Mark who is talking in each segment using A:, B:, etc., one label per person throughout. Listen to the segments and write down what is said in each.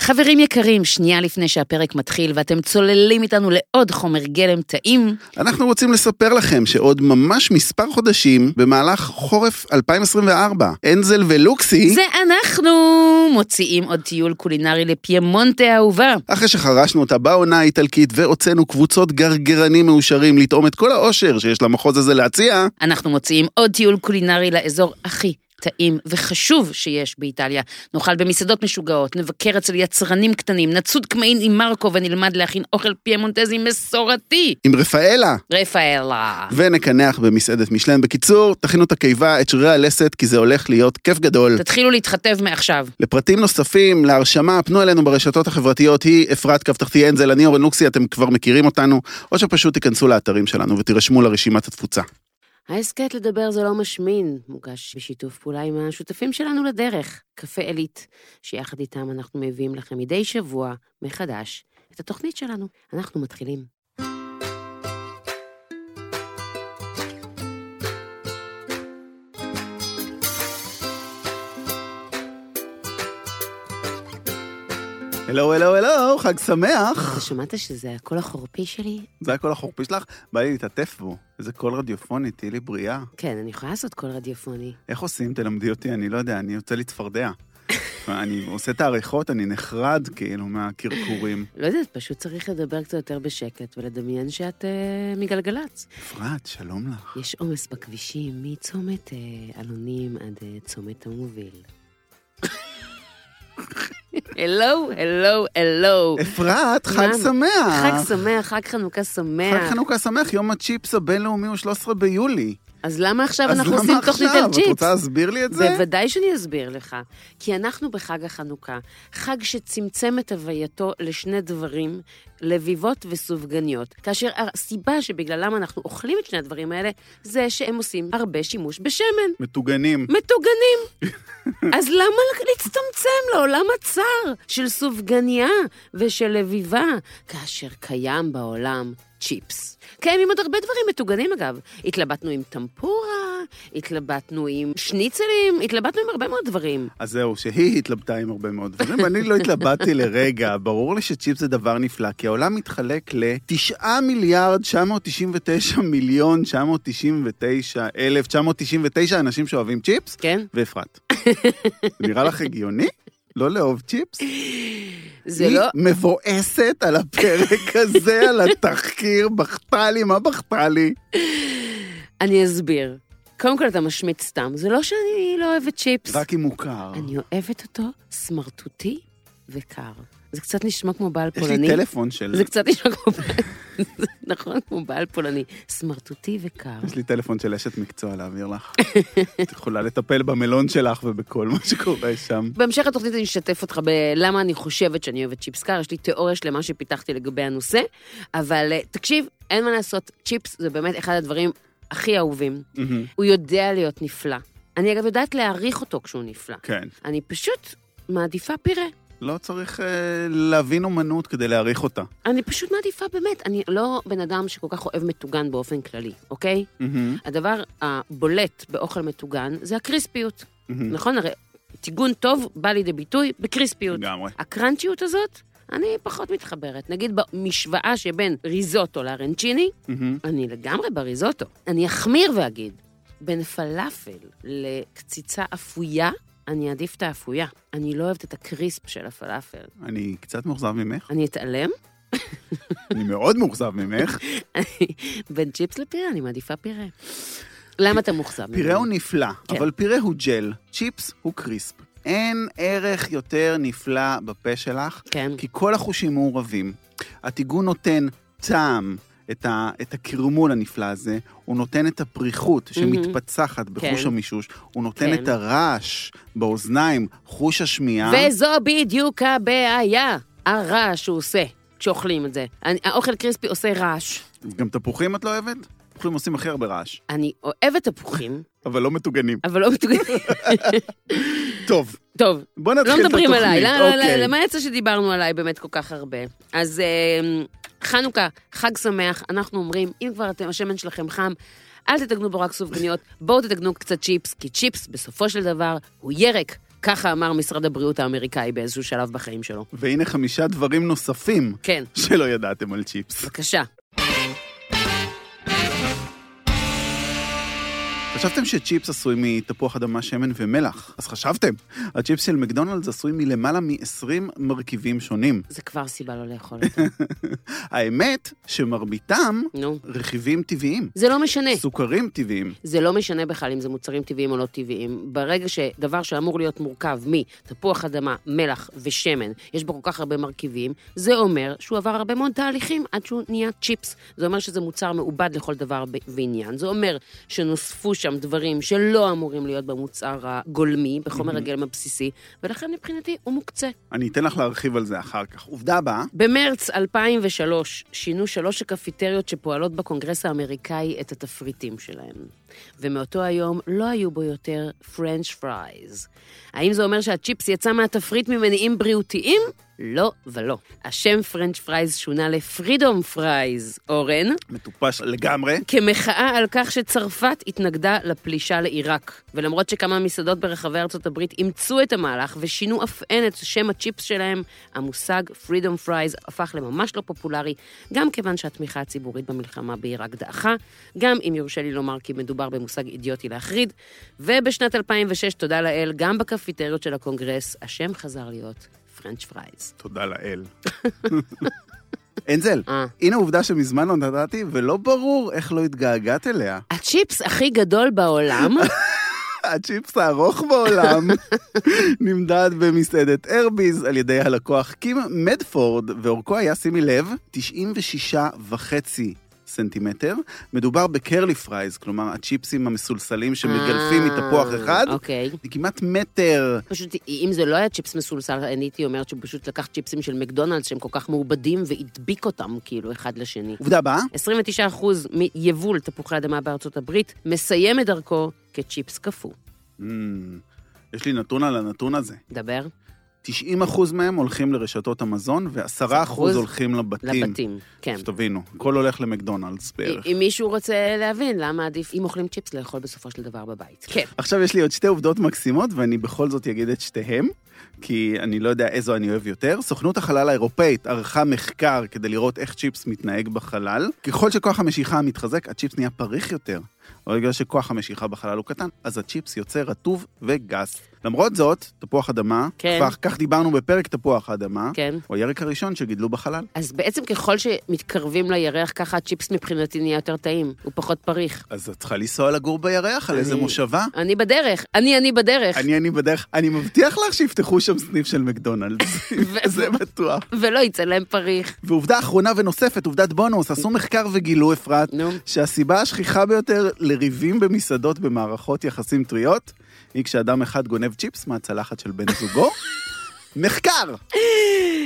A: חברים יקרים, שנייה לפני שהפרק מתחיל ואתם צוללים איתנו לעוד חומר גלם טעים,
B: אנחנו רוצים לספר לכם שעוד ממש מספר חודשים, במהלך חורף 2024, אנזל ולוקסי,
A: זה אנחנו מוציאים עוד טיול קולינרי לפיימונטה האהובה.
B: אחרי שחרשנו אותה בעונה האיטלקית והוצאנו קבוצות גרגרנים מאושרים לטעום את כל האושר שיש למחוז הזה להציע,
A: אנחנו מוציאים עוד טיול קולינרי לאזור הכי טעים וחשוב שיש באיטליה. נאכל במסעדות משוגעות, נבקר אצל יצרנים קטנים, נצוד קמעין עם מרקו ונלמד להכין אוכל פיימונטזי מסורתי.
B: עם רפאלה.
A: רפאלה.
B: ונקנח במסעדת משלן. בקיצור, תכינו את הקיבה, את שרירי הלסת, כי זה הולך להיות כיף גדול.
A: תתחילו להתחתב מעכשיו.
B: לפרטים נוספים, להרשמה, פנו אלינו ברשתות החברתיות, היא אפרת קו תחתי אנזל, אני אורן לוקסי, אתם כבר מכירים אותנו, או שפשוט תיכנסו לאתרים שלנו ותירשמו לרשימת התפוצה.
C: ההסכת לדבר זה לא משמין, מוגש בשיתוף פעולה עם השותפים שלנו לדרך, קפה עילית, שיחד איתם אנחנו מביאים לכם מדי שבוע מחדש את התוכנית שלנו. אנחנו מתחילים.
B: הלו, הלו, הלו, חג שמח.
C: אתה שמעת שזה הקול החורפי שלי?
B: זה הקול החורפי שלך? בא לי להתעטף בו. איזה קול רדיופוני, תהיי לי בריאה.
C: כן, אני יכולה לעשות קול רדיופוני.
B: איך עושים? תלמדי אותי, אני לא יודע, אני יוצא לי צפרדע. אני עושה את העריכות, אני נחרד כאילו מהקרקורים.
C: לא יודעת, פשוט צריך לדבר קצת יותר בשקט ולדמיין שאת אה, מגלגלצ.
B: אפרת, שלום לך.
C: יש עומס בכבישים מצומת אה, אלונים עד אה, צומת המוביל.
A: הלו, הלו, הלו.
B: אפרת, חג
C: למה?
B: שמח.
C: חג שמח, חג חנוכה שמח.
B: חג חנוכה שמח, יום הצ'יפס הבינלאומי הוא 13 ביולי.
C: אז למה עכשיו
B: אז
C: אנחנו
B: למה
C: עושים תוכנית על
B: עכשיו? את
C: ג'יפס?
B: רוצה להסביר לי את זה?
C: בוודאי שאני אסביר לך. כי אנחנו בחג החנוכה, חג שצמצם את הווייתו לשני דברים, לביבות וסופגניות. כאשר הסיבה שבגללם אנחנו אוכלים את שני הדברים האלה, זה שהם עושים הרבה שימוש בשמן.
B: מטוגנים.
C: מטוגנים. אז למה להצטמצם לעולם הצר של סופגניה ושל לביבה, כאשר קיים בעולם צ'יפס? קיימים עוד הרבה דברים מטוגנים, אגב. התלבטנו עם טמפורה, התלבטנו עם שניצלים, התלבטנו עם הרבה מאוד דברים.
B: אז זהו, שהיא התלבטה עם הרבה מאוד דברים, ואני לא התלבטתי לרגע. ברור לי שצ'יפס זה דבר נפלא, כי העולם מתחלק ל-9 מיליארד 999 מיליון 999 אלף 999 אנשים שאוהבים צ'יפס,
C: כן?
B: ואפרת. זה נראה לך הגיוני? לא לאהוב צ'יפס?
C: זה
B: היא
C: לא...
B: מבואסת על הפרק הזה, על התחקיר, בכתה לי, מה בכתה לי?
C: אני אסביר. קודם כל, אתה משמיץ סתם. זה לא שאני לא אוהבת צ'יפס.
B: רק אם מוכר.
C: אני אוהבת אותו סמרטוטי וקר. זה קצת נשמע כמו בעל
B: יש
C: פולני.
B: לי טלפון של...
C: זה קצת נשמע כמו בעל, זה נכון, כמו בעל פולני, סמרטוטי וקר.
B: יש לי טלפון של אשת מקצוע להעביר לך. את יכולה לטפל במלון שלך ובכל מה שקורה שם.
C: בהמשך התוכנית אני אשתף אותך בלמה אני חושבת שאני אוהבת צ'יפס קר, יש לי תיאוריה שלמה שפיתחתי לגבי הנושא, אבל אה, תקשיב, אין מה לעשות, צ'יפס זה באמת אחד הדברים הכי אהובים.
B: מהמם.
C: הוא יודע להיות נפלא. אני אגב יודעת להעריך אותו כשהוא נפלא.
B: כן.
C: אני פשוט מעדיפה פירה.
B: לא צריך אה, להבין אומנות כדי להעריך אותה.
C: אני פשוט מעדיפה באמת, אני לא בן אדם שכל כך אוהב מטוגן באופן כללי, אוקיי?
B: מהמם,
C: הדבר הבולט באוכל מטוגן זה הקריספיות.
B: מהמם.
C: נכון? הרי טיגון טוב בא לידי ביטוי בקריספיות.
B: לגמרי.
C: הקראנצ'יות הזאת, אני פחות מתחברת. נגיד במשוואה שבין ריזוטו לארנצ'יני,
B: מהמם.
C: אני לגמרי בריזוטו. אני אחמיר ואגיד, בין פלאפל לקציצה אפויה, אני אעדיף את האפויה. אני לא אוהבת את הקריספ של הפלאפל.
B: אני קצת מאוכזב ממך,
C: אני אתעלם,
B: אני מאוד מאוכזב ממך.
C: בין צ'יפס לפירה אני מעדיפה פירה. למה אתה מאוכזב?
B: פירה
C: ממני?
B: הוא נפלא,
C: כן.
B: אבל פירה הוא ג'ל, צ'יפס הוא קריספ. אין ערך יותר נפלא בפה שלך,
C: כן.
B: כי כל החושים מעורבים. הטיגון נותן טעם, את, ה, את הקרמול הנפלא הזה, הוא נותן את הפריחות שמתפצחת בחוש
C: כן.
B: המישוש, הוא נותן
C: כן.
B: את הרעש באוזניים, חוש השמיעה.
C: וזו בדיוק הבעיה, הרעש שהוא עושה כשאוכלים את זה. אני, האוכל קריספי עושה רעש.
B: גם תפוחים את לא אוהבת? תפוחים עושים הכי הרבה רעש,
C: אני אוהבת תפוחים,
B: אבל לא מטוגנים.
C: אבל לא מטוגנים.
B: טוב,
C: טוב,
B: בוא נתחיל
C: אה, לא
B: את התוכנית.
C: מדברים עליי, לא, לא,
B: אוקיי.
C: לא, למה יצא שדיברנו עליי באמת כל כך הרבה? אז אה, חנוכה, חג שמח, אנחנו אומרים, אם כבר אתם, השמן שלכם חם, אל תתגנו בו רק סופגניות, בואו תתגנו קצת צ'יפס, כי צ'יפס בסופו של דבר הוא ירק ככה אמר משרד הבריאות האמריקאי באיזשהו שלב בחיים שלו.
B: והנה חמישה דברים נוספים
C: כן,
B: שלא ידעתם על צ'יפס.
C: בבקשה.
B: חשבתם שצ'יפס עשוי מתפוח אדמה, שמן ומלח, אז חשבתם. הצ'יפס של מקדונלדס עשוי מלמעלה מ-20 מרכיבים שונים.
C: זה כבר סיבה לא לאכול אותו.
B: האמת שמרביתם
C: נו.
B: רכיבים טבעיים,
C: זה לא משנה.
B: סוכרים טבעיים.
C: זה לא משנה בכלל אם זה מוצרים טבעיים או לא טבעיים. ברגע שדבר שאמור להיות מורכב מתפוח אדמה, מלח ושמן, יש בו כל כך הרבה מרכיבים, זה אומר שהוא עבר הרבה מאוד תהליכים עד שהוא נהיה צ'יפס. זה אומר שזה מוצר מעובד לכל דבר ב- ועניין. זה אומר שנוספו שם דברים שלא אמורים להיות במוצר הגולמי, בחומר הגלם הבסיסי, ולכן מבחינתי הוא מוקצה.
B: אני אתן לך להרחיב על זה אחר כך. עובדה הבאה,
C: במרץ 2003 שינו שלוש הקפיטריות שפועלות בקונגרס האמריקאי את התפריטים שלהם, ומאותו היום לא היו בו יותר פרנץ' פרייז. האם זה אומר שהצ'יפס יצא מהתפריט ממניעים בריאותיים? לא ולא. השם פרנץ' פרייז שונה לפרידום פרייז, אורן,
B: מטופש לגמרי,
C: כמחאה על כך שצרפת התנגדה לפלישה לעיראק. ולמרות שכמה מסעדות ברחבי ארצות הברית אימצו את המהלך ושינו אף הן את שם הצ'יפס שלהם, המושג פרידום פרייז הפך לממש לא פופולרי, גם כיוון שהתמיכה הציבורית במלחמה בעיראק דעכה, גם אם יורשה לי לומר כי מדובר במושג אידיוטי להחריד, ובשנת 2006, תודה לאל, גם בקפיטריות של הקונגרס, השם חזר להיות פרנץ' פרייז.
B: תודה לאל. אנזל,
C: אה.
B: הנה עובדה שמזמן לא נתתי, ולא ברור איך לא התגעגעת אליה.
C: הצ'יפס הכי גדול בעולם,
B: הצ'יפס הארוך בעולם נמדד במסעדת הרביז על ידי הלקוח קים מדפורד, ואורכו היה, שימי לב, 96 וחצי. סנטימטר, מדובר בקרלי פרייז, כלומר הצ'יפסים המסולסלים שמגלפים
C: אה,
B: מתפוח אחד,
C: אוקיי.
B: זה כמעט מטר.
C: פשוט, אם זה לא היה צ'יפס מסולסל, אני הייתי אומרת שהוא פשוט לקח צ'יפסים של מקדונלדס שהם כל כך מעובדים והדביק אותם כאילו אחד לשני.
B: עובדה הבאה,
C: 29% מיבול תפוחי אדמה בארצות הברית מסיים את דרכו כצ'יפס קפוא.
B: Mm, יש לי נתון על הנתון הזה.
C: דבר
B: 90% מהם הולכים לרשתות המזון, ו-10%
C: אחוז
B: הולכים לבתים.
C: לבתים. כן.
B: שתבינו, הכל הולך למקדונלדס בערך.
C: אם מישהו רוצה להבין למה עדיף, אם אוכלים צ'יפס, לאכול בסופו של דבר בבית. כן.
B: עכשיו יש לי עוד שתי עובדות מקסימות, ואני בכל זאת אגיד את שתיהן, כי אני לא יודע איזו אני אוהב יותר. סוכנות החלל האירופאית ערכה מחקר כדי לראות איך צ'יפס מתנהג בחלל. ככל שכוח המשיכה מתחזק, הצ'יפס נהיה פריך יותר. אבל בגלל שכוח המשיכה בחלל הוא קטן, אז הצ'יפס יוצא רטוב וגס. למרות זאת, תפוח אדמה,
C: כן.
B: כבר כך דיברנו בפרק תפוח האדמה,
C: כן.
B: הוא הירק הראשון שגידלו בחלל.
C: אז בעצם ככל שמתקרבים לירח, ככה הצ'יפס מבחינתי נהיה יותר טעים, הוא פחות פריך.
B: אז את צריכה לנסוע לגור בירח, על
C: אני-
B: איזה מושבה?
C: אני בדרך, אני אני בדרך.
B: אני, אני בדרך, אני מבטיח לך שיפתחו שם סניף של מקדונלדס,
C: ו-
B: זה בטוח.
C: ולא יצא להם פריך.
B: ועובדה אחרונה ונוספת, עובדת בונוס, עשו
C: אוקיי.
B: מחקר וגילו, אפרת,
C: נו.
B: שהסיבה השכיחה ביותר לריבים במסעדות במערכות יחסים טריות, היא כשאדם אחד גונב צ'יפס מהצלחת של בן זוגו. מחקר!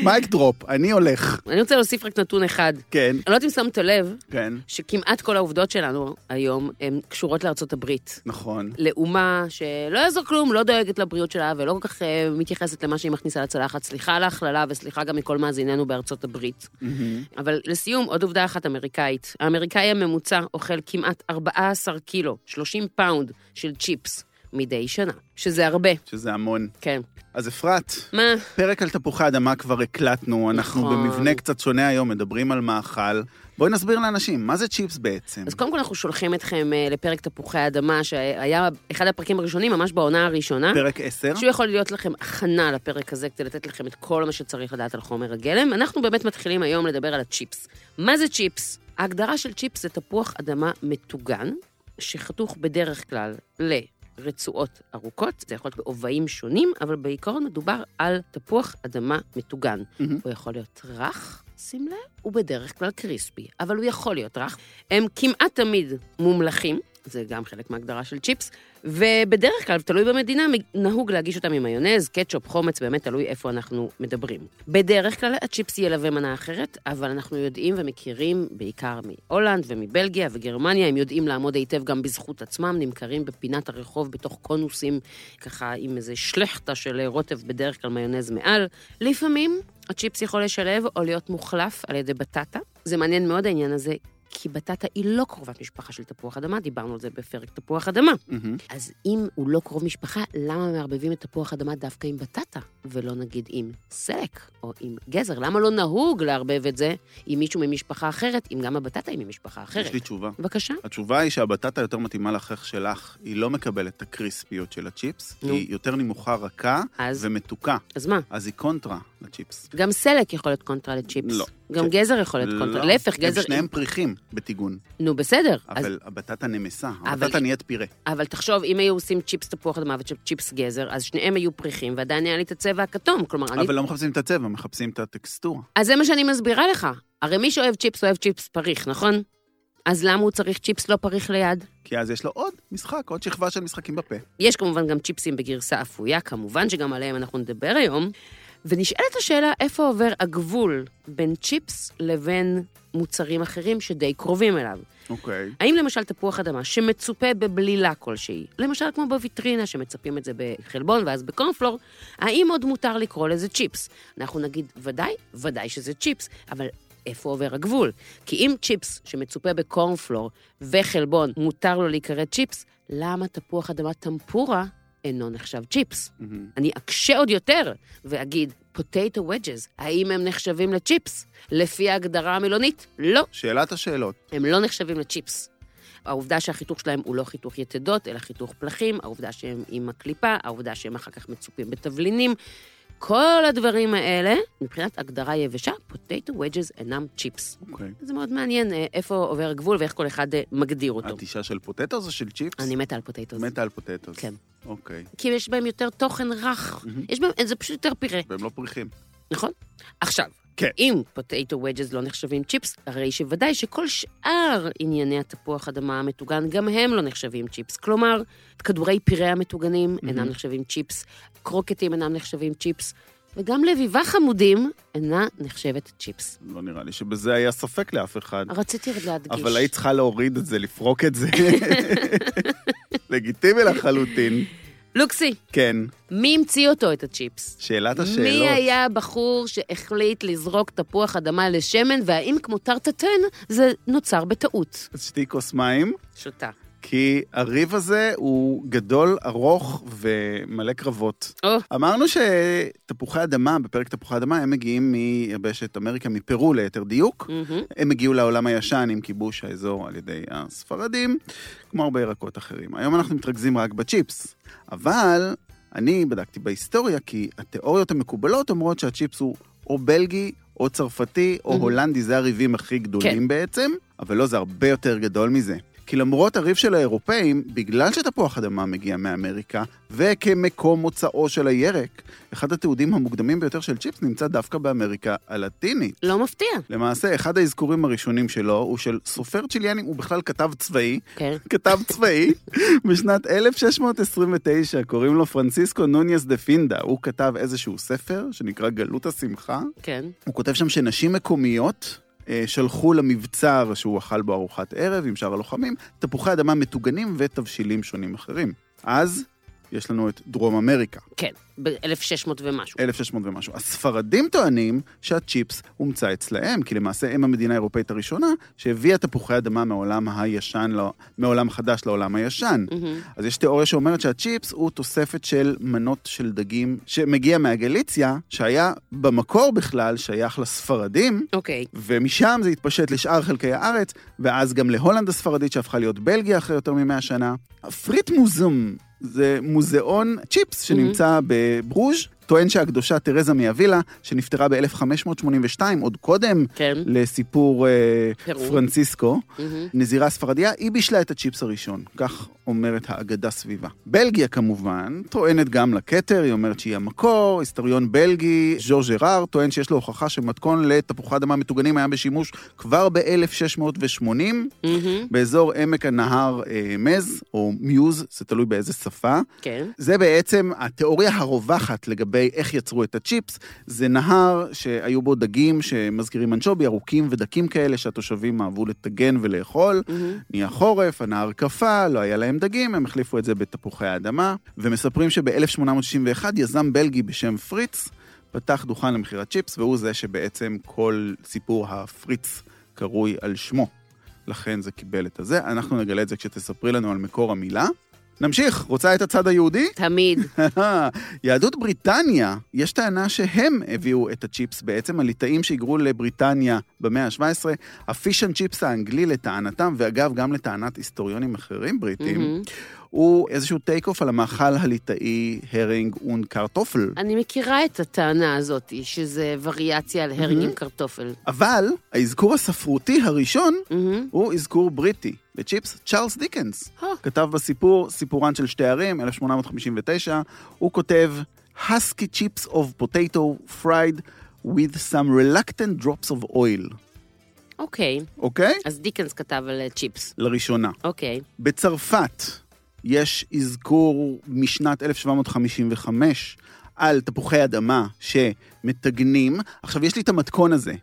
B: מייק דרופ, אני הולך.
C: אני רוצה להוסיף רק נתון אחד.
B: כן,
C: אני לא יודעת אם שמת לב
B: כן,
C: שכמעט כל העובדות שלנו היום הן קשורות לארצות הברית.
B: נכון.
C: לאומה שלא יעזור כלום, לא דואגת לבריאות שלה ולא כל כך אה, מתייחסת למה שהיא מכניסה לצלחת. סליחה על ההכללה וסליחה גם מכל מאזיננו בארצות הברית.
B: מהמם.
C: אבל לסיום, עוד עובדה אחת אמריקאית. האמריקאי הממוצע אוכל כמעט 14 קילו, 30 פאונד של צ'יפס מדי שנה, שזה הרבה,
B: שזה המון.
C: כן.
B: אז אפרת,
C: מה?
B: פרק על תפוחי אדמה כבר הקלטנו, אנחנו
C: נכון.
B: במבנה קצת שונה היום, מדברים על מאכל. בואי נסביר לאנשים, מה זה צ'יפס בעצם?
C: אז קודם כל אנחנו שולחים אתכם אה, לפרק תפוחי אדמה, שהיה אחד הפרקים הראשונים, ממש בעונה הראשונה.
B: פרק 10?
C: שהוא יכול להיות לכם הכנה לפרק הזה כדי לתת לכם את כל מה שצריך לדעת על חומר הגלם. אנחנו באמת מתחילים היום לדבר על הצ'יפס. מה זה צ'יפס? ההגדרה של צ'יפס זה תפוח אדמה מטוגן, שחתוך בדרך כלל לרצועות ארוכות, זה יכול להיות בעובעים שונים, אבל בעיקרון מדובר על תפוח אדמה מטוגן.
B: מהמם.
C: הוא יכול להיות רך, שים לב, הוא בדרך כלל קריספי, אבל הוא יכול להיות רך. הם כמעט תמיד מומלכים, זה גם חלק מההגדרה של צ'יפס, ובדרך כלל, תלוי במדינה, נהוג להגיש אותם עם מיונז, קטשופ, חומץ, באמת תלוי איפה אנחנו מדברים. בדרך כלל הצ'יפס ילווה מנה אחרת, אבל אנחנו יודעים ומכירים, בעיקר מהולנד ומבלגיה וגרמניה, הם יודעים לעמוד היטב גם בזכות עצמם, נמכרים בפינת הרחוב בתוך קונוסים, ככה עם איזה שלחטה של רוטב, בדרך כלל מיונז מעל. לפעמים הצ'יפס יכול לשלב או להיות מוחלף על ידי בטטה. זה מעניין מאוד העניין הזה, כי בטטה היא לא קרובת משפחה של תפוח אדמה, דיברנו על זה בפרק תפוח אדמה.
B: מהמם.
C: אז אם הוא לא קרוב משפחה, למה מערבבים את תפוח אדמה דווקא עם בטטה, ולא נגיד עם סלק או עם גזר? למה לא נהוג לערבב את זה עם מישהו ממשפחה אחרת, אם גם הבטטה היא ממשפחה
B: יש
C: אחרת?
B: לי תשובה.
C: בבקשה.
B: התשובה היא שהבטטה יותר מתאימה לחך שלך, היא לא מקבלת את הקריספיות של הצ'יפס,
C: נו.
B: היא יותר נמוכה, רכה
C: אז,
B: ומתוקה,
C: אז מה?
B: אז היא קונטרה לצ'יפס.
C: גם סלק יכול להיות קונטרה לצ'יפס.
B: לא.
C: גם
B: כן.
C: גזר יכול להיות קונטרה. להפך, גזר...
B: הם שניהם פריחים בטיגון,
C: נו, בסדר. אז-
B: אבל הבטטה נמסה,
C: אבל-
B: הבטטה נהיית פירה.
C: אבל תחשוב, אם היו עושים צ'יפס תפוח אדמה וצ'יפס גזר, אז שניהם היו פריחים, ועדיין היה לי את הצבע הכתום. כלומר, אני...
B: אבל לא מחפשים את הצבע, מחפשים את הטקסטורה.
C: אז זה מה שאני מסבירה לך. הרי מי שאוהב צ'יפס, אוהב צ'יפס פריך, נכון? אז למה הוא צריך צ'יפס לא פריך ליד?
B: כי אז יש לו עוד משחק, עוד שכבה של משחקים בפה.
C: יש כמובן גם צ'יפסים בגרסה אפויה, כמובן שגם עליהם אנחנו נדבר היום. ונשאלת השאלה איפה עובר הגבול בין צ'יפס לבין מוצרים אחרים שדי קרובים אליו.
B: אוקיי.
C: האם למשל תפוח אדמה שמצופה בבלילה כלשהי, למשל כמו בוויטרינה שמצפים את זה בחלבון ואז בקורנפלור, האם עוד מותר לקרוא לזה צ'יפס? אנחנו נגיד, ודאי, ודאי שזה צ'יפס, אבל איפה עובר הגבול? כי אם צ'יפס שמצופה בקורנפלור וחלבון מותר לו להיקרא צ'יפס, למה תפוח אדמה טמפורה אינו נחשב צ'יפס?
B: מהמם.
C: אני אקשה עוד יותר ואגיד, פוטטו וג'ז, האם הם נחשבים לצ'יפס? לפי ההגדרה המילונית, לא.
B: שאלת השאלות.
C: הם לא נחשבים לצ'יפס. העובדה שהחיתוך שלהם הוא לא חיתוך יתדות, אלא חיתוך פלחים, העובדה שהם עם הקליפה, העובדה שהם אחר כך מצופים בתבלינים, כל הדברים האלה, מבחינת הגדרה יבשה, potato wedges אינם צ'יפס.
B: אוקיי.
C: זה מאוד מעניין אה, איפה עובר הגבול ואיך כל אחד אה, מגדיר אותו.
B: את אישה של פוטטוס או של צ'יפס?
C: אני מתה על פוטטוס.
B: מתה על פוטטוס.
C: כן.
B: אוקיי.
C: כי יש בהם יותר תוכן רך.
B: מהמם.
C: יש בהם, זה פשוט יותר פירה.
B: והם לא פריחים.
C: נכון? עכשיו,
B: כן.
C: אם פוטטו וג'ז לא נחשבים צ'יפס, הרי שוודאי שכל שאר ענייני התפוח אדמה המטוגן, גם הם לא נחשבים צ'יפס. כלומר, כדורי פירה המטוגנים אינם נחשבים צ'יפס, קרוקטים אינם נחשבים צ'יפס, וגם לביבה חמודים אינה נחשבת צ'יפס.
B: לא נראה לי שבזה היה ספק לאף אחד.
C: רציתי רק להדגיש.
B: אבל היית צריכה להוריד את זה, לפרוק את זה. לגיטימי לחלוטין.
C: לוקסי,
B: כן,
C: מי המציא אותו, את הצ'יפס?
B: שאלת השאלות.
C: מי היה הבחור שהחליט לזרוק תפוח אדמה לשמן, והאם כמו טרטטן זה נוצר בטעות?
B: אז שתי כוס מים,
C: שותה.
B: כי הריב הזה הוא גדול, ארוך ומלא קרבות.
C: או,
B: אמרנו שתפוחי אדמה, בפרק תפוחי אדמה, הם מגיעים מיבשת אמריקה, מפרו ליתר דיוק.
C: מהמם.
B: הם הגיעו לעולם הישן עם כיבוש האזור על ידי הספרדים, כמו הרבה ירקות אחרים. היום אנחנו מתרכזים רק בצ'יפס, אבל אני בדקתי בהיסטוריה, כי התיאוריות המקובלות אומרות שהצ'יפס הוא או בלגי, או צרפתי, או
C: Mhm.
B: הולנדי, זה הריבים הכי גדולים כן. בעצם, אבל לא, זה הרבה יותר גדול מזה. כי למרות הריב של האירופאים, בגלל שתפוח אדמה מגיע מאמריקה, וכמקום מוצאו של הירק, אחד התיעודים המוקדמים ביותר של צ'יפס נמצא דווקא באמריקה הלטינית.
C: לא מפתיע.
B: למעשה, אחד האזכורים הראשונים שלו הוא של סופר צ'יליאני, הוא בכלל כתב צבאי,
C: כן.
B: כתב צבאי, בשנת 1629, קוראים לו פרנסיסקו נוניאס דה פינדה. הוא כתב איזשהו ספר שנקרא גלות השמחה.
C: כן.
B: הוא כותב שם שנשים מקומיות אה, שלחו למבצר שהוא אכל בו ארוחת ערב עם שאר הלוחמים, תפוחי אדמה מטוגנים ותבשילים שונים אחרים. אז יש לנו את דרום אמריקה.
C: כן, ב-1600 ומשהו.
B: 1600 ומשהו. הספרדים טוענים שהצ'יפס הומצא אצלהם, כי למעשה הם המדינה האירופאית הראשונה שהביאה תפוחי אדמה מעולם הישן, לא, מעולם החדש לעולם הישן.
C: מהמם.
B: אז יש תיאוריה שאומרת שהצ'יפס הוא תוספת של מנות של דגים שמגיע מהגליציה, שהיה במקור בכלל שייך לספרדים,
C: אוקיי.
B: ומשם זה התפשט לשאר חלקי הארץ, ואז גם להולנד הספרדית שהפכה להיות בלגיה אחרי יותר מ-100 שנה. הפריט מוזום זה מוזיאון צ'יפס שנמצא בברוז', טוען שהקדושה תרזה מהווילה, שנפטרה ב-1582, עוד קודם
C: כן.
B: לסיפור אה,
C: פרו.
B: פרנסיסקו,
C: מהמם.
B: נזירה ספרדיה, היא בישלה את הצ'יפס הראשון, כך אומרת האגדה סביבה. בלגיה כמובן, טוענת גם לכתר, היא אומרת שהיא המקור, היסטוריון בלגי, ז'ו ז'רר, טוען שיש לו הוכחה שמתכון לתפוחי אדמה מטוגנים היה בשימוש כבר ב-1680,
C: מהמם.
B: באזור עמק הנהר אה, מז, או מיוז, זה תלוי באיזה שפה.
C: כן.
B: זה בעצם התיאוריה הרווחת לגבי איך יצרו את הצ'יפס. זה נהר שהיו בו דגים שמזכירים אנשובי, ארוכים ודקים כאלה שהתושבים אהבו לטגן ולאכול.
C: מהמם.
B: נהיה חורף, הנהר קפא, לא היה להם דגים, הם החליפו את זה בתפוחי האדמה. ומספרים שב-1861 יזם בלגי בשם פריץ פתח דוכן למכירת צ'יפס, והוא זה שבעצם כל סיפור הפריץ קרוי על שמו. לכן זה קיבל את הזה. אנחנו נגלה את זה כשתספרי לנו על מקור המילה. נמשיך, רוצה את הצד היהודי?
C: תמיד.
B: יהדות בריטניה, יש טענה שהם הביאו את הצ'יפס בעצם, הליטאים שהיגרו לבריטניה במאה ה-17, הפיש אנד צ'יפס האנגלי לטענתם, ואגב, גם לטענת היסטוריונים אחרים בריטים,
C: מהמם.
B: הוא איזשהו טייק אוף על המאכל הליטאי הרינג און קרטופל.
C: אני מכירה את הטענה הזאת, שזה וריאציה על הרג עם קרטופל.
B: אבל האזכור הספרותי הראשון
C: מהמם.
B: הוא אזכור בריטי לצ'יפס, צ'ארלס דיקנס.
C: אה.
B: כתב בסיפור, סיפורן של שתי ערים, 1859, הוא כותב, Husky chips of potato fried with some reluctant drops of oil,
C: אוקיי,
B: אוקיי?
C: אז דיקנס כתב על אה, צ'יפס.
B: לראשונה.
C: אוקיי.
B: בצרפת יש אזכור משנת 1755 על תפוחי אדמה שמתגנים. עכשיו, יש לי את המתכון הזה,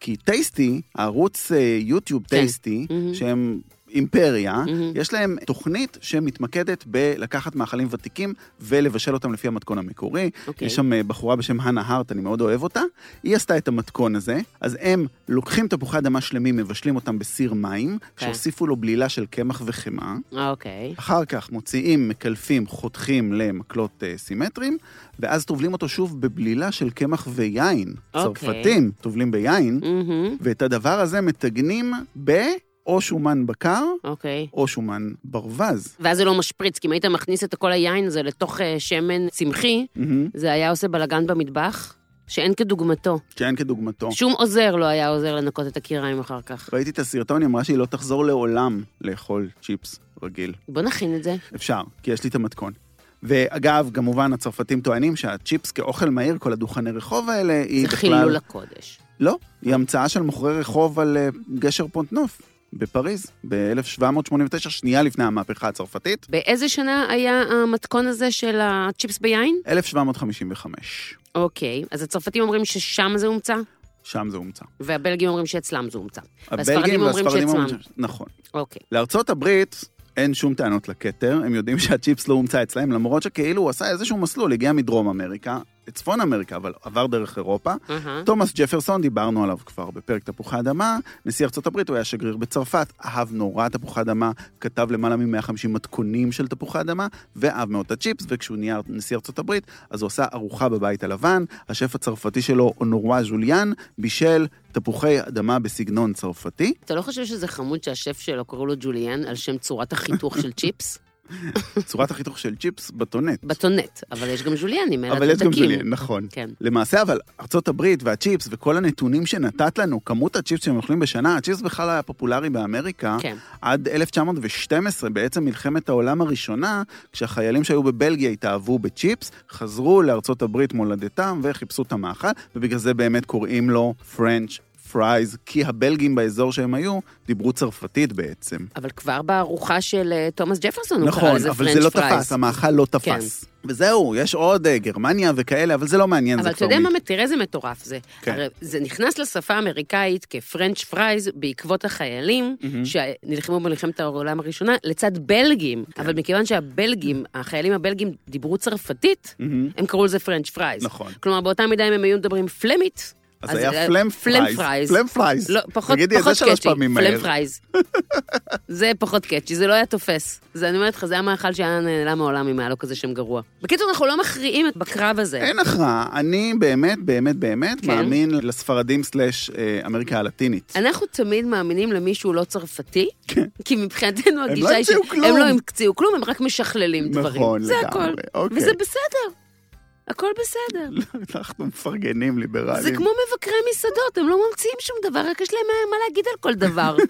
B: כי טייסטי, הערוץ אה, יוטיוב
C: כן.
B: טייסטי,
C: מהמם.
B: שהם אימפריה,
C: מהמם.
B: יש להם תוכנית שמתמקדת בלקחת מאכלים ותיקים ולבשל אותם לפי המתכון המקורי.
C: אוקיי.
B: יש שם אה, בחורה בשם הנה הארט, אני מאוד אוהב אותה. היא עשתה את המתכון הזה, אז הם לוקחים תפוחי אדמה שלמים, מבשלים אותם בסיר מים,
C: כן.
B: שהוסיפו לו בלילה של קמח וחמאה.
C: אה, אוקיי.
B: אחר כך מוציאים, מקלפים, חותכים למקלות אה, סימטריים, ואז טובלים אותו שוב בבלילה של קמח ויין.
C: אוקיי. Mm.
B: צרפתים טובלים ביין,
C: מהמם.
B: ואת הדבר הזה מתגנים ב... או שומן בקר,
C: אוקיי.
B: או שומן ברווז.
C: ואז זה לא משפריץ, כי אם היית מכניס את כל היין הזה לתוך אה, שמן צמחי,
B: מהמם.
C: זה היה עושה בלאגן במטבח שאין כדוגמתו.
B: שאין כן, כדוגמתו.
C: שום עוזר לא היה עוזר לנקות את הקיריים אחר כך.
B: ראיתי את הסרטון, היא אמרה שהיא לא תחזור לעולם לאכול צ'יפס רגיל.
C: בוא נכין את זה.
B: אפשר, כי יש לי את המתכון. ואגב, כמובן, הצרפתים טוענים שהצ'יפס כאוכל מהיר, כל הדוכני רחוב האלה, היא
C: זה
B: בכלל...
C: חילול הקודש.
B: לא, היא המצאה של מוכרי רחוב על אה, גשר פונטנוף בפריז, ב-1789, שנייה לפני המהפכה הצרפתית,
C: באיזה שנה היה המתכון הזה של הצ'יפס ביין?
B: 1755.
C: אוקיי, אז הצרפתים אומרים ששם זה הומצא,
B: שם זה הומצא.
C: והבלגים אומרים שאצלם זה הומצא.
B: הבלגים
C: והספרדים אומרים
B: והספרדים
C: שאצלם.
B: ש- נכון.
C: אוקיי.
B: לארצות הברית אין שום טענות לכתר, הם יודעים שהצ'יפס לא הומצא אצלם, למרות שכאילו הוא עשה איזשהו מסלול, הגיע מדרום אמריקה, לצפון אמריקה, אבל עבר דרך אירופה.
C: אהה.
B: תומאס ג'פרסון, דיברנו עליו כבר בפרק תפוחי אדמה, נשיא ארצות הברית, הוא היה שגריר בצרפת, אהב נורא תפוחי אדמה, כתב למעלה מ-150 מתכונים של תפוחי אדמה, ואהב מאוד את הצ'יפס, וכשהוא נהיה נשיא ארצות הברית, אז הוא עשה ארוחה בבית הלבן, השף הצרפתי שלו, אונורווה ז'וליאן, בישל תפוחי אדמה בסגנון צרפתי.
C: אתה לא חושב שזה חמוד שהשף שלו קראו לו ג'וליאן על שם צורת החיתוך של צ'יפס?
B: צורת החיתוך של צ'יפס בטונט.
C: בטונט, אבל יש גם ג'וליאנים, אלה
B: אבל יש גם
C: הדקים.
B: ג'וליאן, נכון.
C: כן.
B: למעשה, אבל ארצות הברית והצ'יפס וכל הנתונים שנתת לנו, כמות הצ'יפס שהם אוכלים בשנה, הצ'יפס בכלל היה פופולרי באמריקה,
C: כן.
B: עד 1912, בעצם מלחמת העולם הראשונה, כשהחיילים שהיו בבלגיה התאהבו בצ'יפס, חזרו לארצות הברית מולדתם וחיפשו את המאכל, ובגלל זה באמת קוראים לו פרנץ' פרייז, כי הבלגים באזור שהם היו דיברו צרפתית בעצם.
C: אבל כבר בארוחה של אה, תומאס ג'פרסון הוא קרא
B: נכון,
C: לזה כן.
B: אבל זה לא
C: פרנץ' פרייס.
B: תפס, המאכל לא תפס. וזהו, יש עוד אה, גרמניה וכאלה, אבל זה לא מעניין,
C: אבל
B: זה
C: אתה
B: כבר...
C: יודע
B: מ-
C: מה, תראה איזה מטורף זה.
B: כן.
C: הרי זה נכנס לשפה האמריקאית כפרנץ' פרייז בעקבות החיילים
B: מהמם.
C: שנלחמו במלחמת העולם הראשונה לצד בלגים.
B: כן.
C: אבל מכיוון שהבלגים, החיילים הבלגים דיברו צרפתית,
B: מהמם.
C: הם קראו לזה פרנץ' פרייז.
B: נכון.
C: כלומר, באותה מידה אם הם היו מדברים פלמית,
B: אז היה פלם פרייז. פלם פרייז.
C: אה, לא, פחות,
B: תגידי, את זה
C: פחות
B: שלוש
C: קאצ'י,
B: פעמים
C: פלם
B: מהר.
C: פרייז. זה פחות קאצ'י, זה לא היה תופס. זה, אני אומרת לך, זה היה מאכל שהיה נעלם מהעולם אם היה לו כזה שם גרוע. בקיצור, אנחנו לא מכריעים את- בקרב הזה.
B: אין הכרעה, אני באמת, באמת, באמת
C: כן.
B: מאמין לספרדים סלאש אה, אמריקה הלטינית.
C: אנחנו תמיד מאמינים למי שהוא לא צרפתי, כי מבחינתנו
B: כן. לא
C: הגישה היא
B: המציאו כלום.
C: שהם לא המציאו כלום, הם רק משכללים דברים.
B: נכון,
C: זה
B: לגמרי,
C: הכל.
B: אוקיי.
C: וזה בסדר. הכל בסדר.
B: אנחנו מפרגנים ליברלים.
C: זה כמו מבקרי מסעדות, הם לא ממציאים שום דבר, רק יש להם מה- מה להגיד על כל דבר.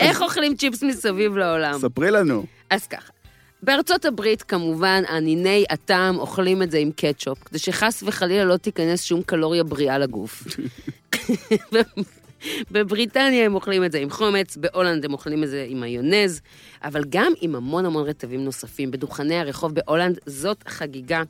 C: איך אוכלים צ'יפס מסביב לעולם?
B: ספרי לנו.
C: אז ככה. בארצות הברית, כמובן, הניני הטעם אוכלים את זה עם קטשופ, כדי שחס וחלילה לא תיכנס שום קלוריה בריאה לגוף. בבריטניה הם אוכלים את זה עם חומץ, בהולנד הם אוכלים את זה עם מיונז, אבל גם עם המון המון רטבים נוספים. בדוכני הרחוב בהולנד זאת חגיגה.